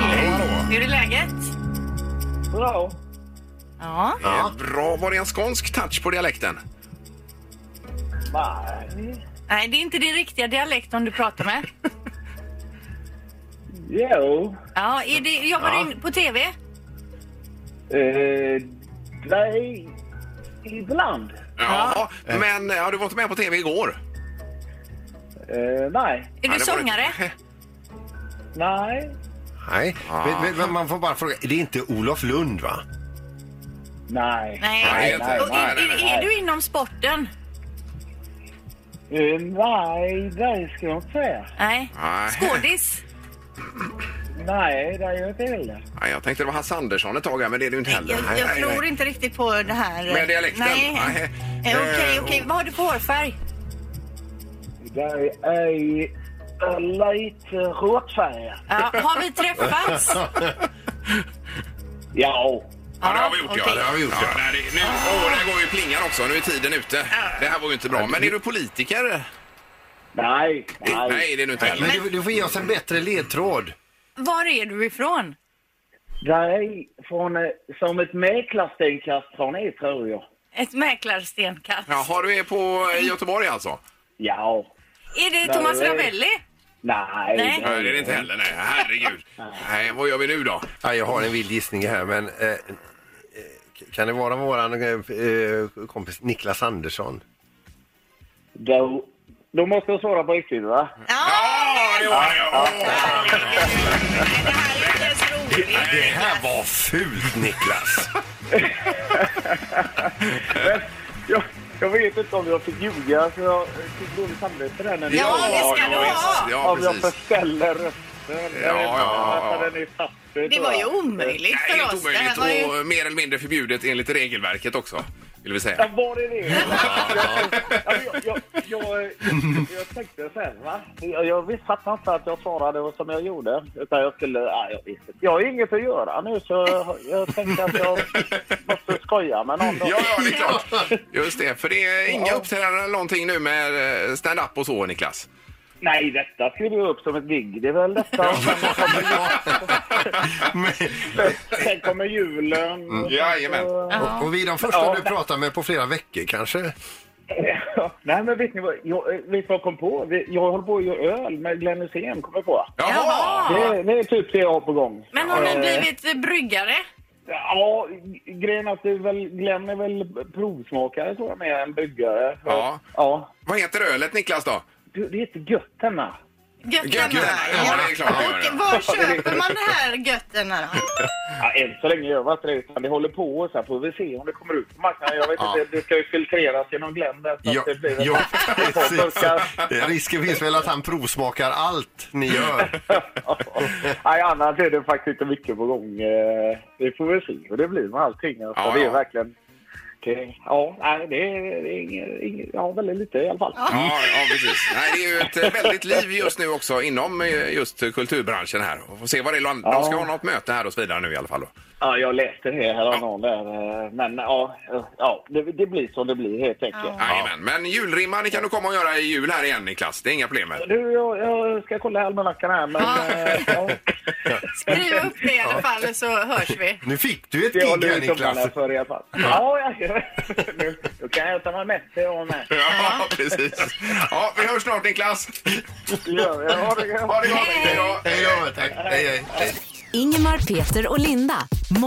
Speaker 7: Hur är läget?
Speaker 9: Bra.
Speaker 7: Ja.
Speaker 5: Eh, Bra. Var det en skånsk touch på dialekten?
Speaker 9: Nej.
Speaker 7: Nej, det är inte din riktiga dialekt om du pratar med.
Speaker 9: Jo.
Speaker 7: Ja, är det, jobbar du in- på TV?
Speaker 9: Eh, nej, ibland.
Speaker 5: Ja, men eh, ja, du var inte med på tv igår.
Speaker 9: Eh, nej.
Speaker 7: Är du
Speaker 5: Ja, det var det.
Speaker 7: sångare?
Speaker 9: Nej.
Speaker 6: Nej. Men, men- men man får bara fråga. Det är inte Olof Lund va?
Speaker 9: Nej.
Speaker 7: Nej.
Speaker 5: Nej, nej,
Speaker 7: Och är,
Speaker 5: nej,
Speaker 7: är, är du inom sporten?
Speaker 9: Eh, nej, det ska jag inte säga.
Speaker 7: Nej.
Speaker 5: Nej.
Speaker 7: Skådis?
Speaker 9: Nej, det gör jag inte heller.
Speaker 5: Nej, jag tänkte det var Hasse Andersson ett tag här, men det är det ju inte heller.
Speaker 7: Jag,
Speaker 5: Nej,
Speaker 7: jag
Speaker 5: nej,
Speaker 7: tror
Speaker 5: nej.
Speaker 7: inte riktigt på det här. eh,
Speaker 5: Med dialekten?
Speaker 7: Nej.
Speaker 5: Nej.
Speaker 7: Eh, Okej, okej.
Speaker 5: Eh,
Speaker 7: Vad har du för hårfärg?
Speaker 9: Det är eh, lite råttfärgat.
Speaker 7: Ja, har vi träffats?
Speaker 9: Ja.
Speaker 5: Ja, det har vi gjort, ja.
Speaker 7: okej.
Speaker 5: Det har vi gjort, ja. Nej, det, nu, åh, där går ju plingan också. Nu är tiden ute. Det här var ju inte bra. Men är du politiker?
Speaker 8: Nej, nej.
Speaker 5: Nej, det är nu inte heller.
Speaker 6: Men du, du får ge oss en bättre ledtråd.
Speaker 7: Var är du ifrån?
Speaker 8: Nej, från, eh, som ett mäklarstenkast från er tror jag.
Speaker 7: Ett mäklarstenkast.
Speaker 5: Jaha, du är på i Göteborg alltså?
Speaker 8: Ja.
Speaker 7: Är det
Speaker 8: Nej,
Speaker 7: Thomas
Speaker 8: det är-
Speaker 7: Ravelli?
Speaker 8: Nej.
Speaker 7: Nej.
Speaker 5: Nej, det är det inte heller. Nej, herregud. Nej, vad gör vi nu då?
Speaker 6: Ja, jag har en vild gissning här, men eh, eh, kan det vara våran eh, kompis Niklas Andersson?
Speaker 8: Då, då måste jag svara på riktigt va?
Speaker 5: Ja, det var det! Ja.
Speaker 6: Det, det här var fult, Niklas!
Speaker 8: Jag, jag vet inte om jag fick ljuga så jag fick dåligt samvete där. när ni-
Speaker 5: Ja, det
Speaker 8: ja,
Speaker 5: ska du ha.
Speaker 8: visst.
Speaker 5: Ja,
Speaker 8: Om jag
Speaker 5: precis.
Speaker 8: förställer rösten.
Speaker 5: Ja, ja, ja, ja.
Speaker 8: Den är fast, tror
Speaker 7: Det var
Speaker 8: jag.
Speaker 7: ju omöjligt för
Speaker 5: Nej, helt
Speaker 7: oss. Det här
Speaker 5: omöjligt
Speaker 7: var ju...
Speaker 5: och mer eller mindre förbjudet enligt regelverket också, vill vi säga.
Speaker 8: Ja, var det det? Jag, jag, jag, jag, jag tänkte så här, va? Jag, jag visst fattar inte att jag svarade som jag gjorde. Utan jag skulle... Nej, jag visste inte. Jag har inget att göra nu så jag, jag tänkte att jag måste skoja med någon.
Speaker 5: Ja, ja, det är klart. Just det, för det är inga uppträdanden eller någonting nu med eh, stand-up och så, Niklas.
Speaker 8: Nej, detta skriver jag upp som ett gig. Det är väl detta. och Sen kommer, sen kommer julen. och sen så-
Speaker 5: Jajamän.
Speaker 6: Och, och vi är de första
Speaker 8: Ja.
Speaker 6: du pratar med på flera veckor kanske?
Speaker 8: Ja, Nej, men vet ni vad jag, eh, vet ni vad jag kom på? Vi- Jag håller på att göra öl med Glenn Hysén, kommer jag på.
Speaker 5: Jaha!
Speaker 8: Det, det är typ det jag har på gång.
Speaker 7: Men har ni
Speaker 8: Eh,
Speaker 7: blivit eh, bryggare?
Speaker 8: Ja, grejen är att det är väl, Glenn är väl provsmakare tror jag, mer än byggare.
Speaker 5: Ja.
Speaker 8: ja.
Speaker 5: Vad heter ölet, Niklas, då?
Speaker 8: Du, det heter Götterna.
Speaker 7: Götterna.
Speaker 5: Ja, det är klart det gör
Speaker 7: Och
Speaker 5: det.
Speaker 7: var köper man det här götterna då?
Speaker 8: Ja, än så länge gör vi inte det, utan det håller på och sen får vi se om det kommer ut på marknaden. Jag vet
Speaker 6: Ja.
Speaker 8: inte, det ska ju filtreras genom Glenn där så
Speaker 6: Ja,
Speaker 8: att det blir väl
Speaker 6: ja,
Speaker 8: ett par
Speaker 6: precis.
Speaker 8: burkar.
Speaker 6: Det- Risken finns väl att han provsmakar allt ni gör.
Speaker 8: Nej, annars är det faktiskt inte mycket på gång. Eh, Vi får väl se hur det blir med allting. Alltså,
Speaker 5: Ja,
Speaker 8: det är
Speaker 5: ja.
Speaker 8: verkligen... Det, ja, nej, det är, det är inget, inget, ja, väldigt lite i alla fall.
Speaker 5: Ja, ja, precis. Nej, det är ju ett eh, väldigt liv just nu också inom eh, just eh, kulturbranschen här. Och får se vad det är. De de ska ha något möte här och så vidare nu i alla fall. Då.
Speaker 8: Ja, jag läste det häromdagen där. eh, Men ja, ja det, det blir som det blir helt enkelt.
Speaker 5: Jajamän. Men julrimman det kan du komma och göra i jul här igen, Niklas. Det är inga problem med.
Speaker 8: Du, jag, jag ska kolla i almanackan här, men... eh, Ja.
Speaker 7: Skriv upp det i alla fall så hörs vi.
Speaker 6: Nu fick du ett
Speaker 8: Det
Speaker 6: gig
Speaker 8: håller
Speaker 6: här
Speaker 8: vi tummarna
Speaker 6: Niklas.
Speaker 8: för i alla fall. Ja, ja, nu, då kan jag ta mig med till jag med.
Speaker 5: Ja, precis. Ja, vi hörs snart, Niklas.
Speaker 8: Det gör vi. Ha det gött.
Speaker 5: Ha det gott. Hej då.
Speaker 6: Hej då, tack. Hej, hej. hej.
Speaker 4: Ingemar, Peter och Linda.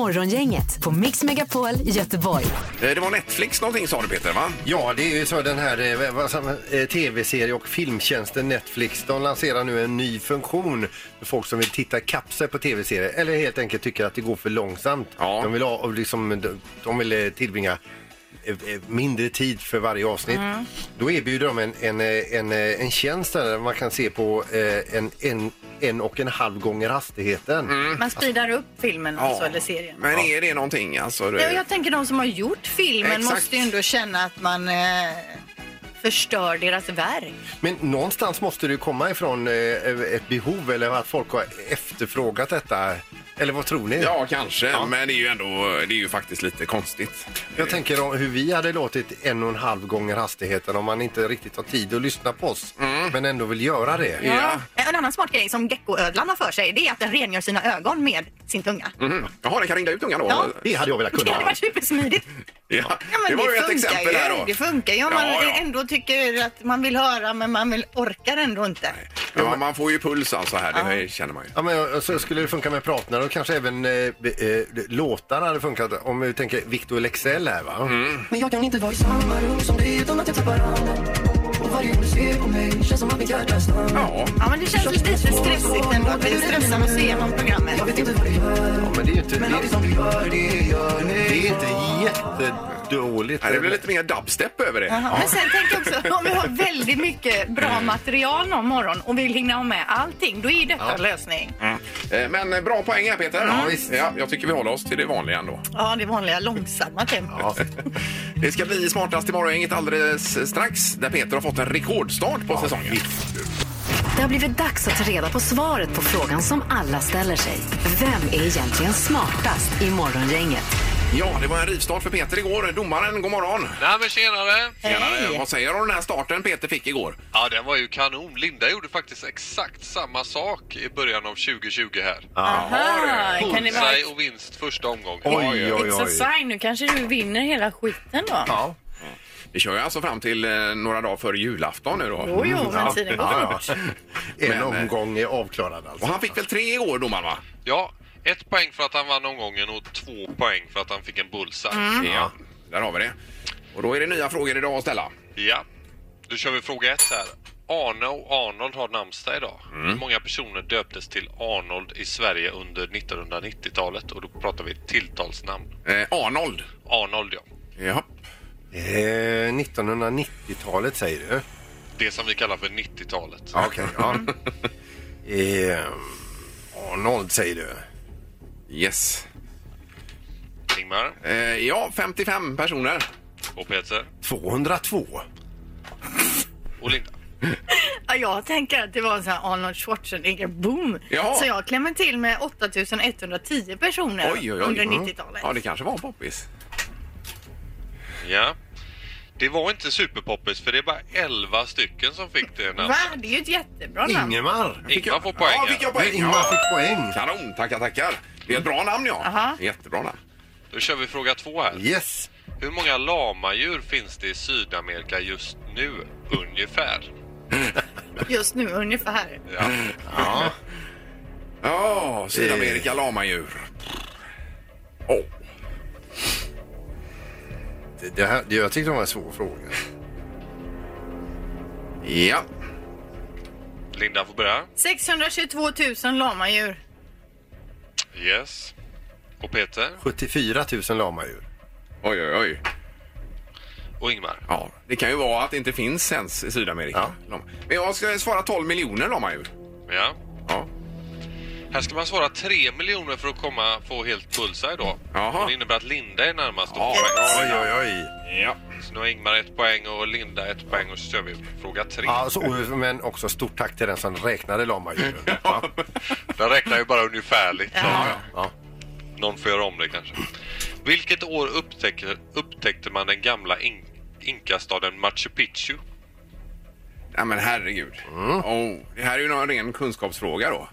Speaker 4: Morgongänget på Mix Megapol Göteborg.
Speaker 5: Eh, Det var Netflix någonting sa du, Peter, va?
Speaker 6: Ja, det är ju så den här eh, vad som, eh, tv-serie och filmtjänsten Netflix. De lanserar nu en ny funktion för folk som vill titta kapp sig på tv-serier eller helt enkelt tycker att det går för långsamt.
Speaker 5: Ja.
Speaker 6: De vill, ha, och liksom, de- de vill eh, tillbringa eh, eh, mindre tid för varje avsnitt.
Speaker 8: Mm.
Speaker 6: Då erbjuder de en, en, eh, en, eh, en tjänst där man kan se på eh, en, en, en och en halv gånger hastigheten.
Speaker 7: Man speedar upp filmen alltså, eller serien.
Speaker 5: Men är det någonting? Alltså,
Speaker 7: Ja,
Speaker 5: det...
Speaker 7: jag tänker de som har gjort filmen
Speaker 5: Exakt.
Speaker 7: måste ju ändå känna att man eh, förstör deras verk.
Speaker 6: Men någonstans måste det ju komma ifrån eh, ett behov eller att folk har efterfrågat detta. Eller vad tror ni?
Speaker 5: Ja, kanske. Men det är ju ändå det är ju faktiskt lite konstigt.
Speaker 6: Jag tänker om hur vi hade låtit en och en halv gånger hastigheten om man inte riktigt har tid att lyssna på oss
Speaker 5: Mm.
Speaker 6: men ändå vill göra det.
Speaker 5: Ja.
Speaker 7: En annan smart grej som geckoödlan har för sig det är att den rengör sina ögon med sin tunga.
Speaker 5: Mm. Jaha, den kan ringa ut tungan då?
Speaker 7: Ja.
Speaker 6: Det hade jag velat
Speaker 7: Det
Speaker 6: kunna.
Speaker 7: hade varit supersmidigt.
Speaker 5: Ja,
Speaker 7: Ja, men
Speaker 5: det var ju ett
Speaker 7: funkar
Speaker 5: exempel
Speaker 7: ju.
Speaker 5: här då.
Speaker 7: Det funkar ju om man
Speaker 5: Ja, ja.
Speaker 7: ändå tycker att man vill höra men man vill orkar ändå inte.
Speaker 5: Ja, man får ju puls alltså här, det känner man ju.
Speaker 6: Ja, men, eh, så skulle det funka med pratnar och kanske även eh, eh, låtar hade funkat. Om vi tänker Victor Lexell här va?
Speaker 5: Mm.
Speaker 15: Men jag kan inte vara i samma rum som dig utan att jag tappar andan. Och varje gång du ser på mig känns som att mitt hjärta stannar.
Speaker 5: Ja,
Speaker 7: Ja, men det känns lite stressigt ändå att vi stressar oss igenom programmet.
Speaker 15: Jag vet inte vad du gör,
Speaker 6: Ja, men det är ju inte, det,
Speaker 15: men allt som du gör det gör
Speaker 6: det
Speaker 15: mig
Speaker 6: är inte jättedåligt.
Speaker 5: Nej, det blir lite mer dubstep över det.
Speaker 7: Jaha, Men sen tänk också om vi har väldigt mycket bra
Speaker 5: Mm.
Speaker 7: material någon morgon och vill hinna ha med allting, då är ju detta en lösning.
Speaker 5: Eh, Men eh, bra poäng här Peter. Ja, jag tycker vi håller oss till det vanliga ändå.
Speaker 7: Ja, det vanliga långsamma tempot.
Speaker 6: Ja.
Speaker 5: Det ska bli smartast i morgongänget alldeles strax där Peter har fått en rekordstart på säsongen.
Speaker 4: Det har blivit dags att ta reda på svaret på frågan som alla ställer sig. Vem är egentligen smartast i Morgongänget?
Speaker 5: Ja, det var en rivstart för Peter igår. Domaren, god morgon.
Speaker 16: Nej men tjenare!
Speaker 5: Tjenare. Vad säger du om den här starten Peter fick igår?
Speaker 16: Ja den var ju kanon. Linda gjorde faktiskt exakt samma sak i början av 2020 här.
Speaker 7: Aha, kan det vara-
Speaker 16: Bullseye och vinst första omgången.
Speaker 7: It's a sign. Nu kanske du vinner hela skiten då.
Speaker 5: Ja. Vi kör ju alltså fram till eh, några dagar före julafton nu då.
Speaker 7: Jo, jo, men
Speaker 5: Ja.
Speaker 7: tiden går
Speaker 5: Ja, ja.
Speaker 6: En
Speaker 5: Men, eh,
Speaker 6: omgång är avklarad alltså.
Speaker 5: Och han fick väl tre igår domaren va?
Speaker 16: Ja, ett poäng för att han vann omgången och två poäng för att han fick en bullseye.
Speaker 7: Mm.
Speaker 5: Ja, där har vi det. Och då är det nya frågor idag att ställa.
Speaker 16: Ja, då kör vi fråga ett här. Arne och Arnold har namnsdag idag.
Speaker 5: Mm.
Speaker 16: Hur många personer döptes till Arnold i Sverige under 1990-talet? Och då pratar vi tilltalsnamn.
Speaker 5: Eh, Arnold.
Speaker 16: Arnold, ja.
Speaker 5: Ja.
Speaker 6: Eh, 1990-talet säger du?
Speaker 16: Det som vi kallar för 90-talet.
Speaker 6: Ja, Okej, ja. eh, Arnold säger du?
Speaker 5: Yes.
Speaker 16: Ingmar
Speaker 5: Eh, ja, 55 personer.
Speaker 16: och Peter
Speaker 6: 202.
Speaker 16: och Linda.
Speaker 7: Ja, jag tänker att det var en sån här Arnold Schwarzenegger boom.
Speaker 5: Ja.
Speaker 7: Så jag klämmer till med 8110 personer
Speaker 5: Oj, oj, oj.
Speaker 7: under
Speaker 5: Mm.
Speaker 7: 90-talet.
Speaker 5: Ja, det kanske var en poppis.
Speaker 16: Ja. Det var inte superpoppis för det är bara 11 stycken som fick det.
Speaker 7: Va? Det är ju ett jättebra namn.
Speaker 16: Ingmar får poäng.
Speaker 5: Ja, fick jag poäng. Ingmar fick poäng. Kanon, tackar, tackar. Det är ett bra namn, ja.
Speaker 7: Aha.
Speaker 5: Jättebra namn.
Speaker 16: Då kör vi fråga två här.
Speaker 6: Yes.
Speaker 16: Hur många lamadjur finns det i Sydamerika just nu, ungefär?
Speaker 7: Just nu ungefär.
Speaker 16: Ja.
Speaker 5: Ja. Ja,
Speaker 6: Eh.
Speaker 5: Sydamerika lamadjur.
Speaker 6: Det, det här, det- jag tyckte det var en svår fråga.
Speaker 5: Ja.
Speaker 16: Linda får börja.
Speaker 7: 622 000 lamadjur.
Speaker 16: Yes. Och Peter
Speaker 6: 74 000 lamadjur.
Speaker 5: Oj, oj, oj.
Speaker 16: och Ingmar.
Speaker 5: Ja, det kan ju vara att det inte finns ens i Sydamerika. Lama. Men jag ska svara 12 miljoner lamadjur.
Speaker 16: Ja.
Speaker 5: Ja.
Speaker 16: Här ska man svara 3 miljoner för att komma, få helt bullseye då.
Speaker 5: Jaha.
Speaker 16: Och Det innebär att Linda är närmast.
Speaker 5: Ja, oj, oj,
Speaker 6: oj.
Speaker 5: Ja.
Speaker 16: Så nu har Ingmar ett poäng och Linda ett poäng och så kör vi fråga tre.
Speaker 6: Ja, så, och- men också stort tack till den som räknade lamadjuren. Ja.
Speaker 16: Den räknar ju bara ungefärligt. Ja. Någon får göra om det kanske. Vilket år upptäckte, upptäckte man den gamla in, inkastaden Machu Picchu?
Speaker 5: Ja, men herregud. Oh, det här är ju en ren kunskapsfråga då.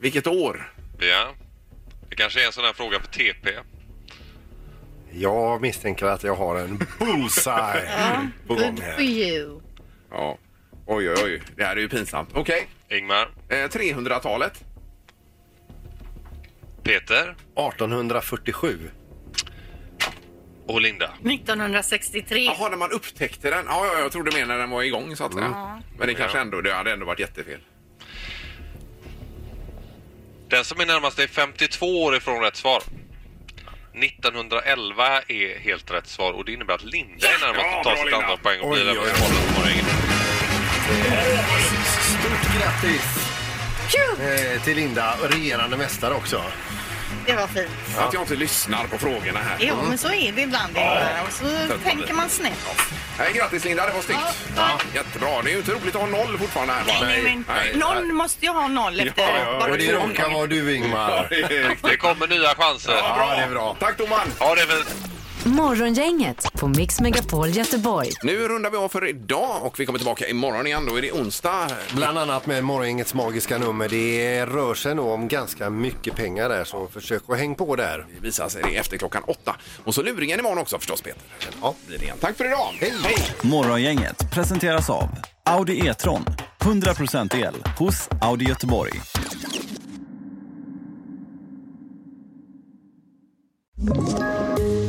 Speaker 5: Vilket år?
Speaker 16: Ja. Det kanske är en sån här fråga för TP.
Speaker 6: Jag misstänker att jag har en bullseye på gång här.
Speaker 7: you.
Speaker 5: Ja. Oj, oj, oj. Det här är ju pinsamt. Okej.
Speaker 16: Ingmar?
Speaker 5: Eh, 300-talet.
Speaker 16: Peter?
Speaker 6: 1847.
Speaker 16: Och Linda?
Speaker 7: 1963.
Speaker 5: Jaha, när man upptäckte den. Ja, ja, jag trodde mer när den var igång så att säga.
Speaker 7: Ja.
Speaker 5: Men det kanske ändå, det hade ändå varit jättefel.
Speaker 16: Den som är närmast är 52 år ifrån rätt svar. 1911 är helt rätt svar och det innebär att Linda är närmast
Speaker 14: Ja,
Speaker 16: att ta
Speaker 14: bra,
Speaker 16: sitt
Speaker 14: Linda.
Speaker 16: andra poäng och blir
Speaker 14: Oj,
Speaker 16: över
Speaker 14: oj, oj.
Speaker 16: bollen på morgonen.
Speaker 6: Stort grattis eh, till Linda, regerande mästare också.
Speaker 7: Det var fint.
Speaker 5: Att jag inte lyssnar på frågorna här.
Speaker 7: Jo, men så är det ibland. Ingmar. Och så tänker man snett.
Speaker 5: Nej, grattis Linda, det var snyggt. Ja, jättebra. Det är ju inte roligt att ha noll fortfarande här. va?
Speaker 7: Nej, men Någon måste ju ha noll efter bara
Speaker 6: och det
Speaker 7: två
Speaker 6: råkar vara du Ingmar.
Speaker 16: Det kommer nya chanser.
Speaker 6: Ja, bra. det är bra.
Speaker 5: Tack domaren.
Speaker 16: Ja, det är väl...
Speaker 4: Morgongänget på Mix Megapol Göteborg.
Speaker 5: Nu rundar vi av för idag och vi kommer tillbaka imorgon igen. Då är det onsdag.
Speaker 6: Bland annat med Morgongängets magiska nummer. Det rör sig nog om ganska mycket pengar där så försök att häng på där.
Speaker 5: Det visar sig det efter klockan åtta. Och så luringen imorgon också förstås Peter.
Speaker 6: Ja,
Speaker 5: blir det igen. Tack för idag. Hej.
Speaker 3: Morgongänget presenteras av Audi E-tron. 100% el hos Audi Göteborg.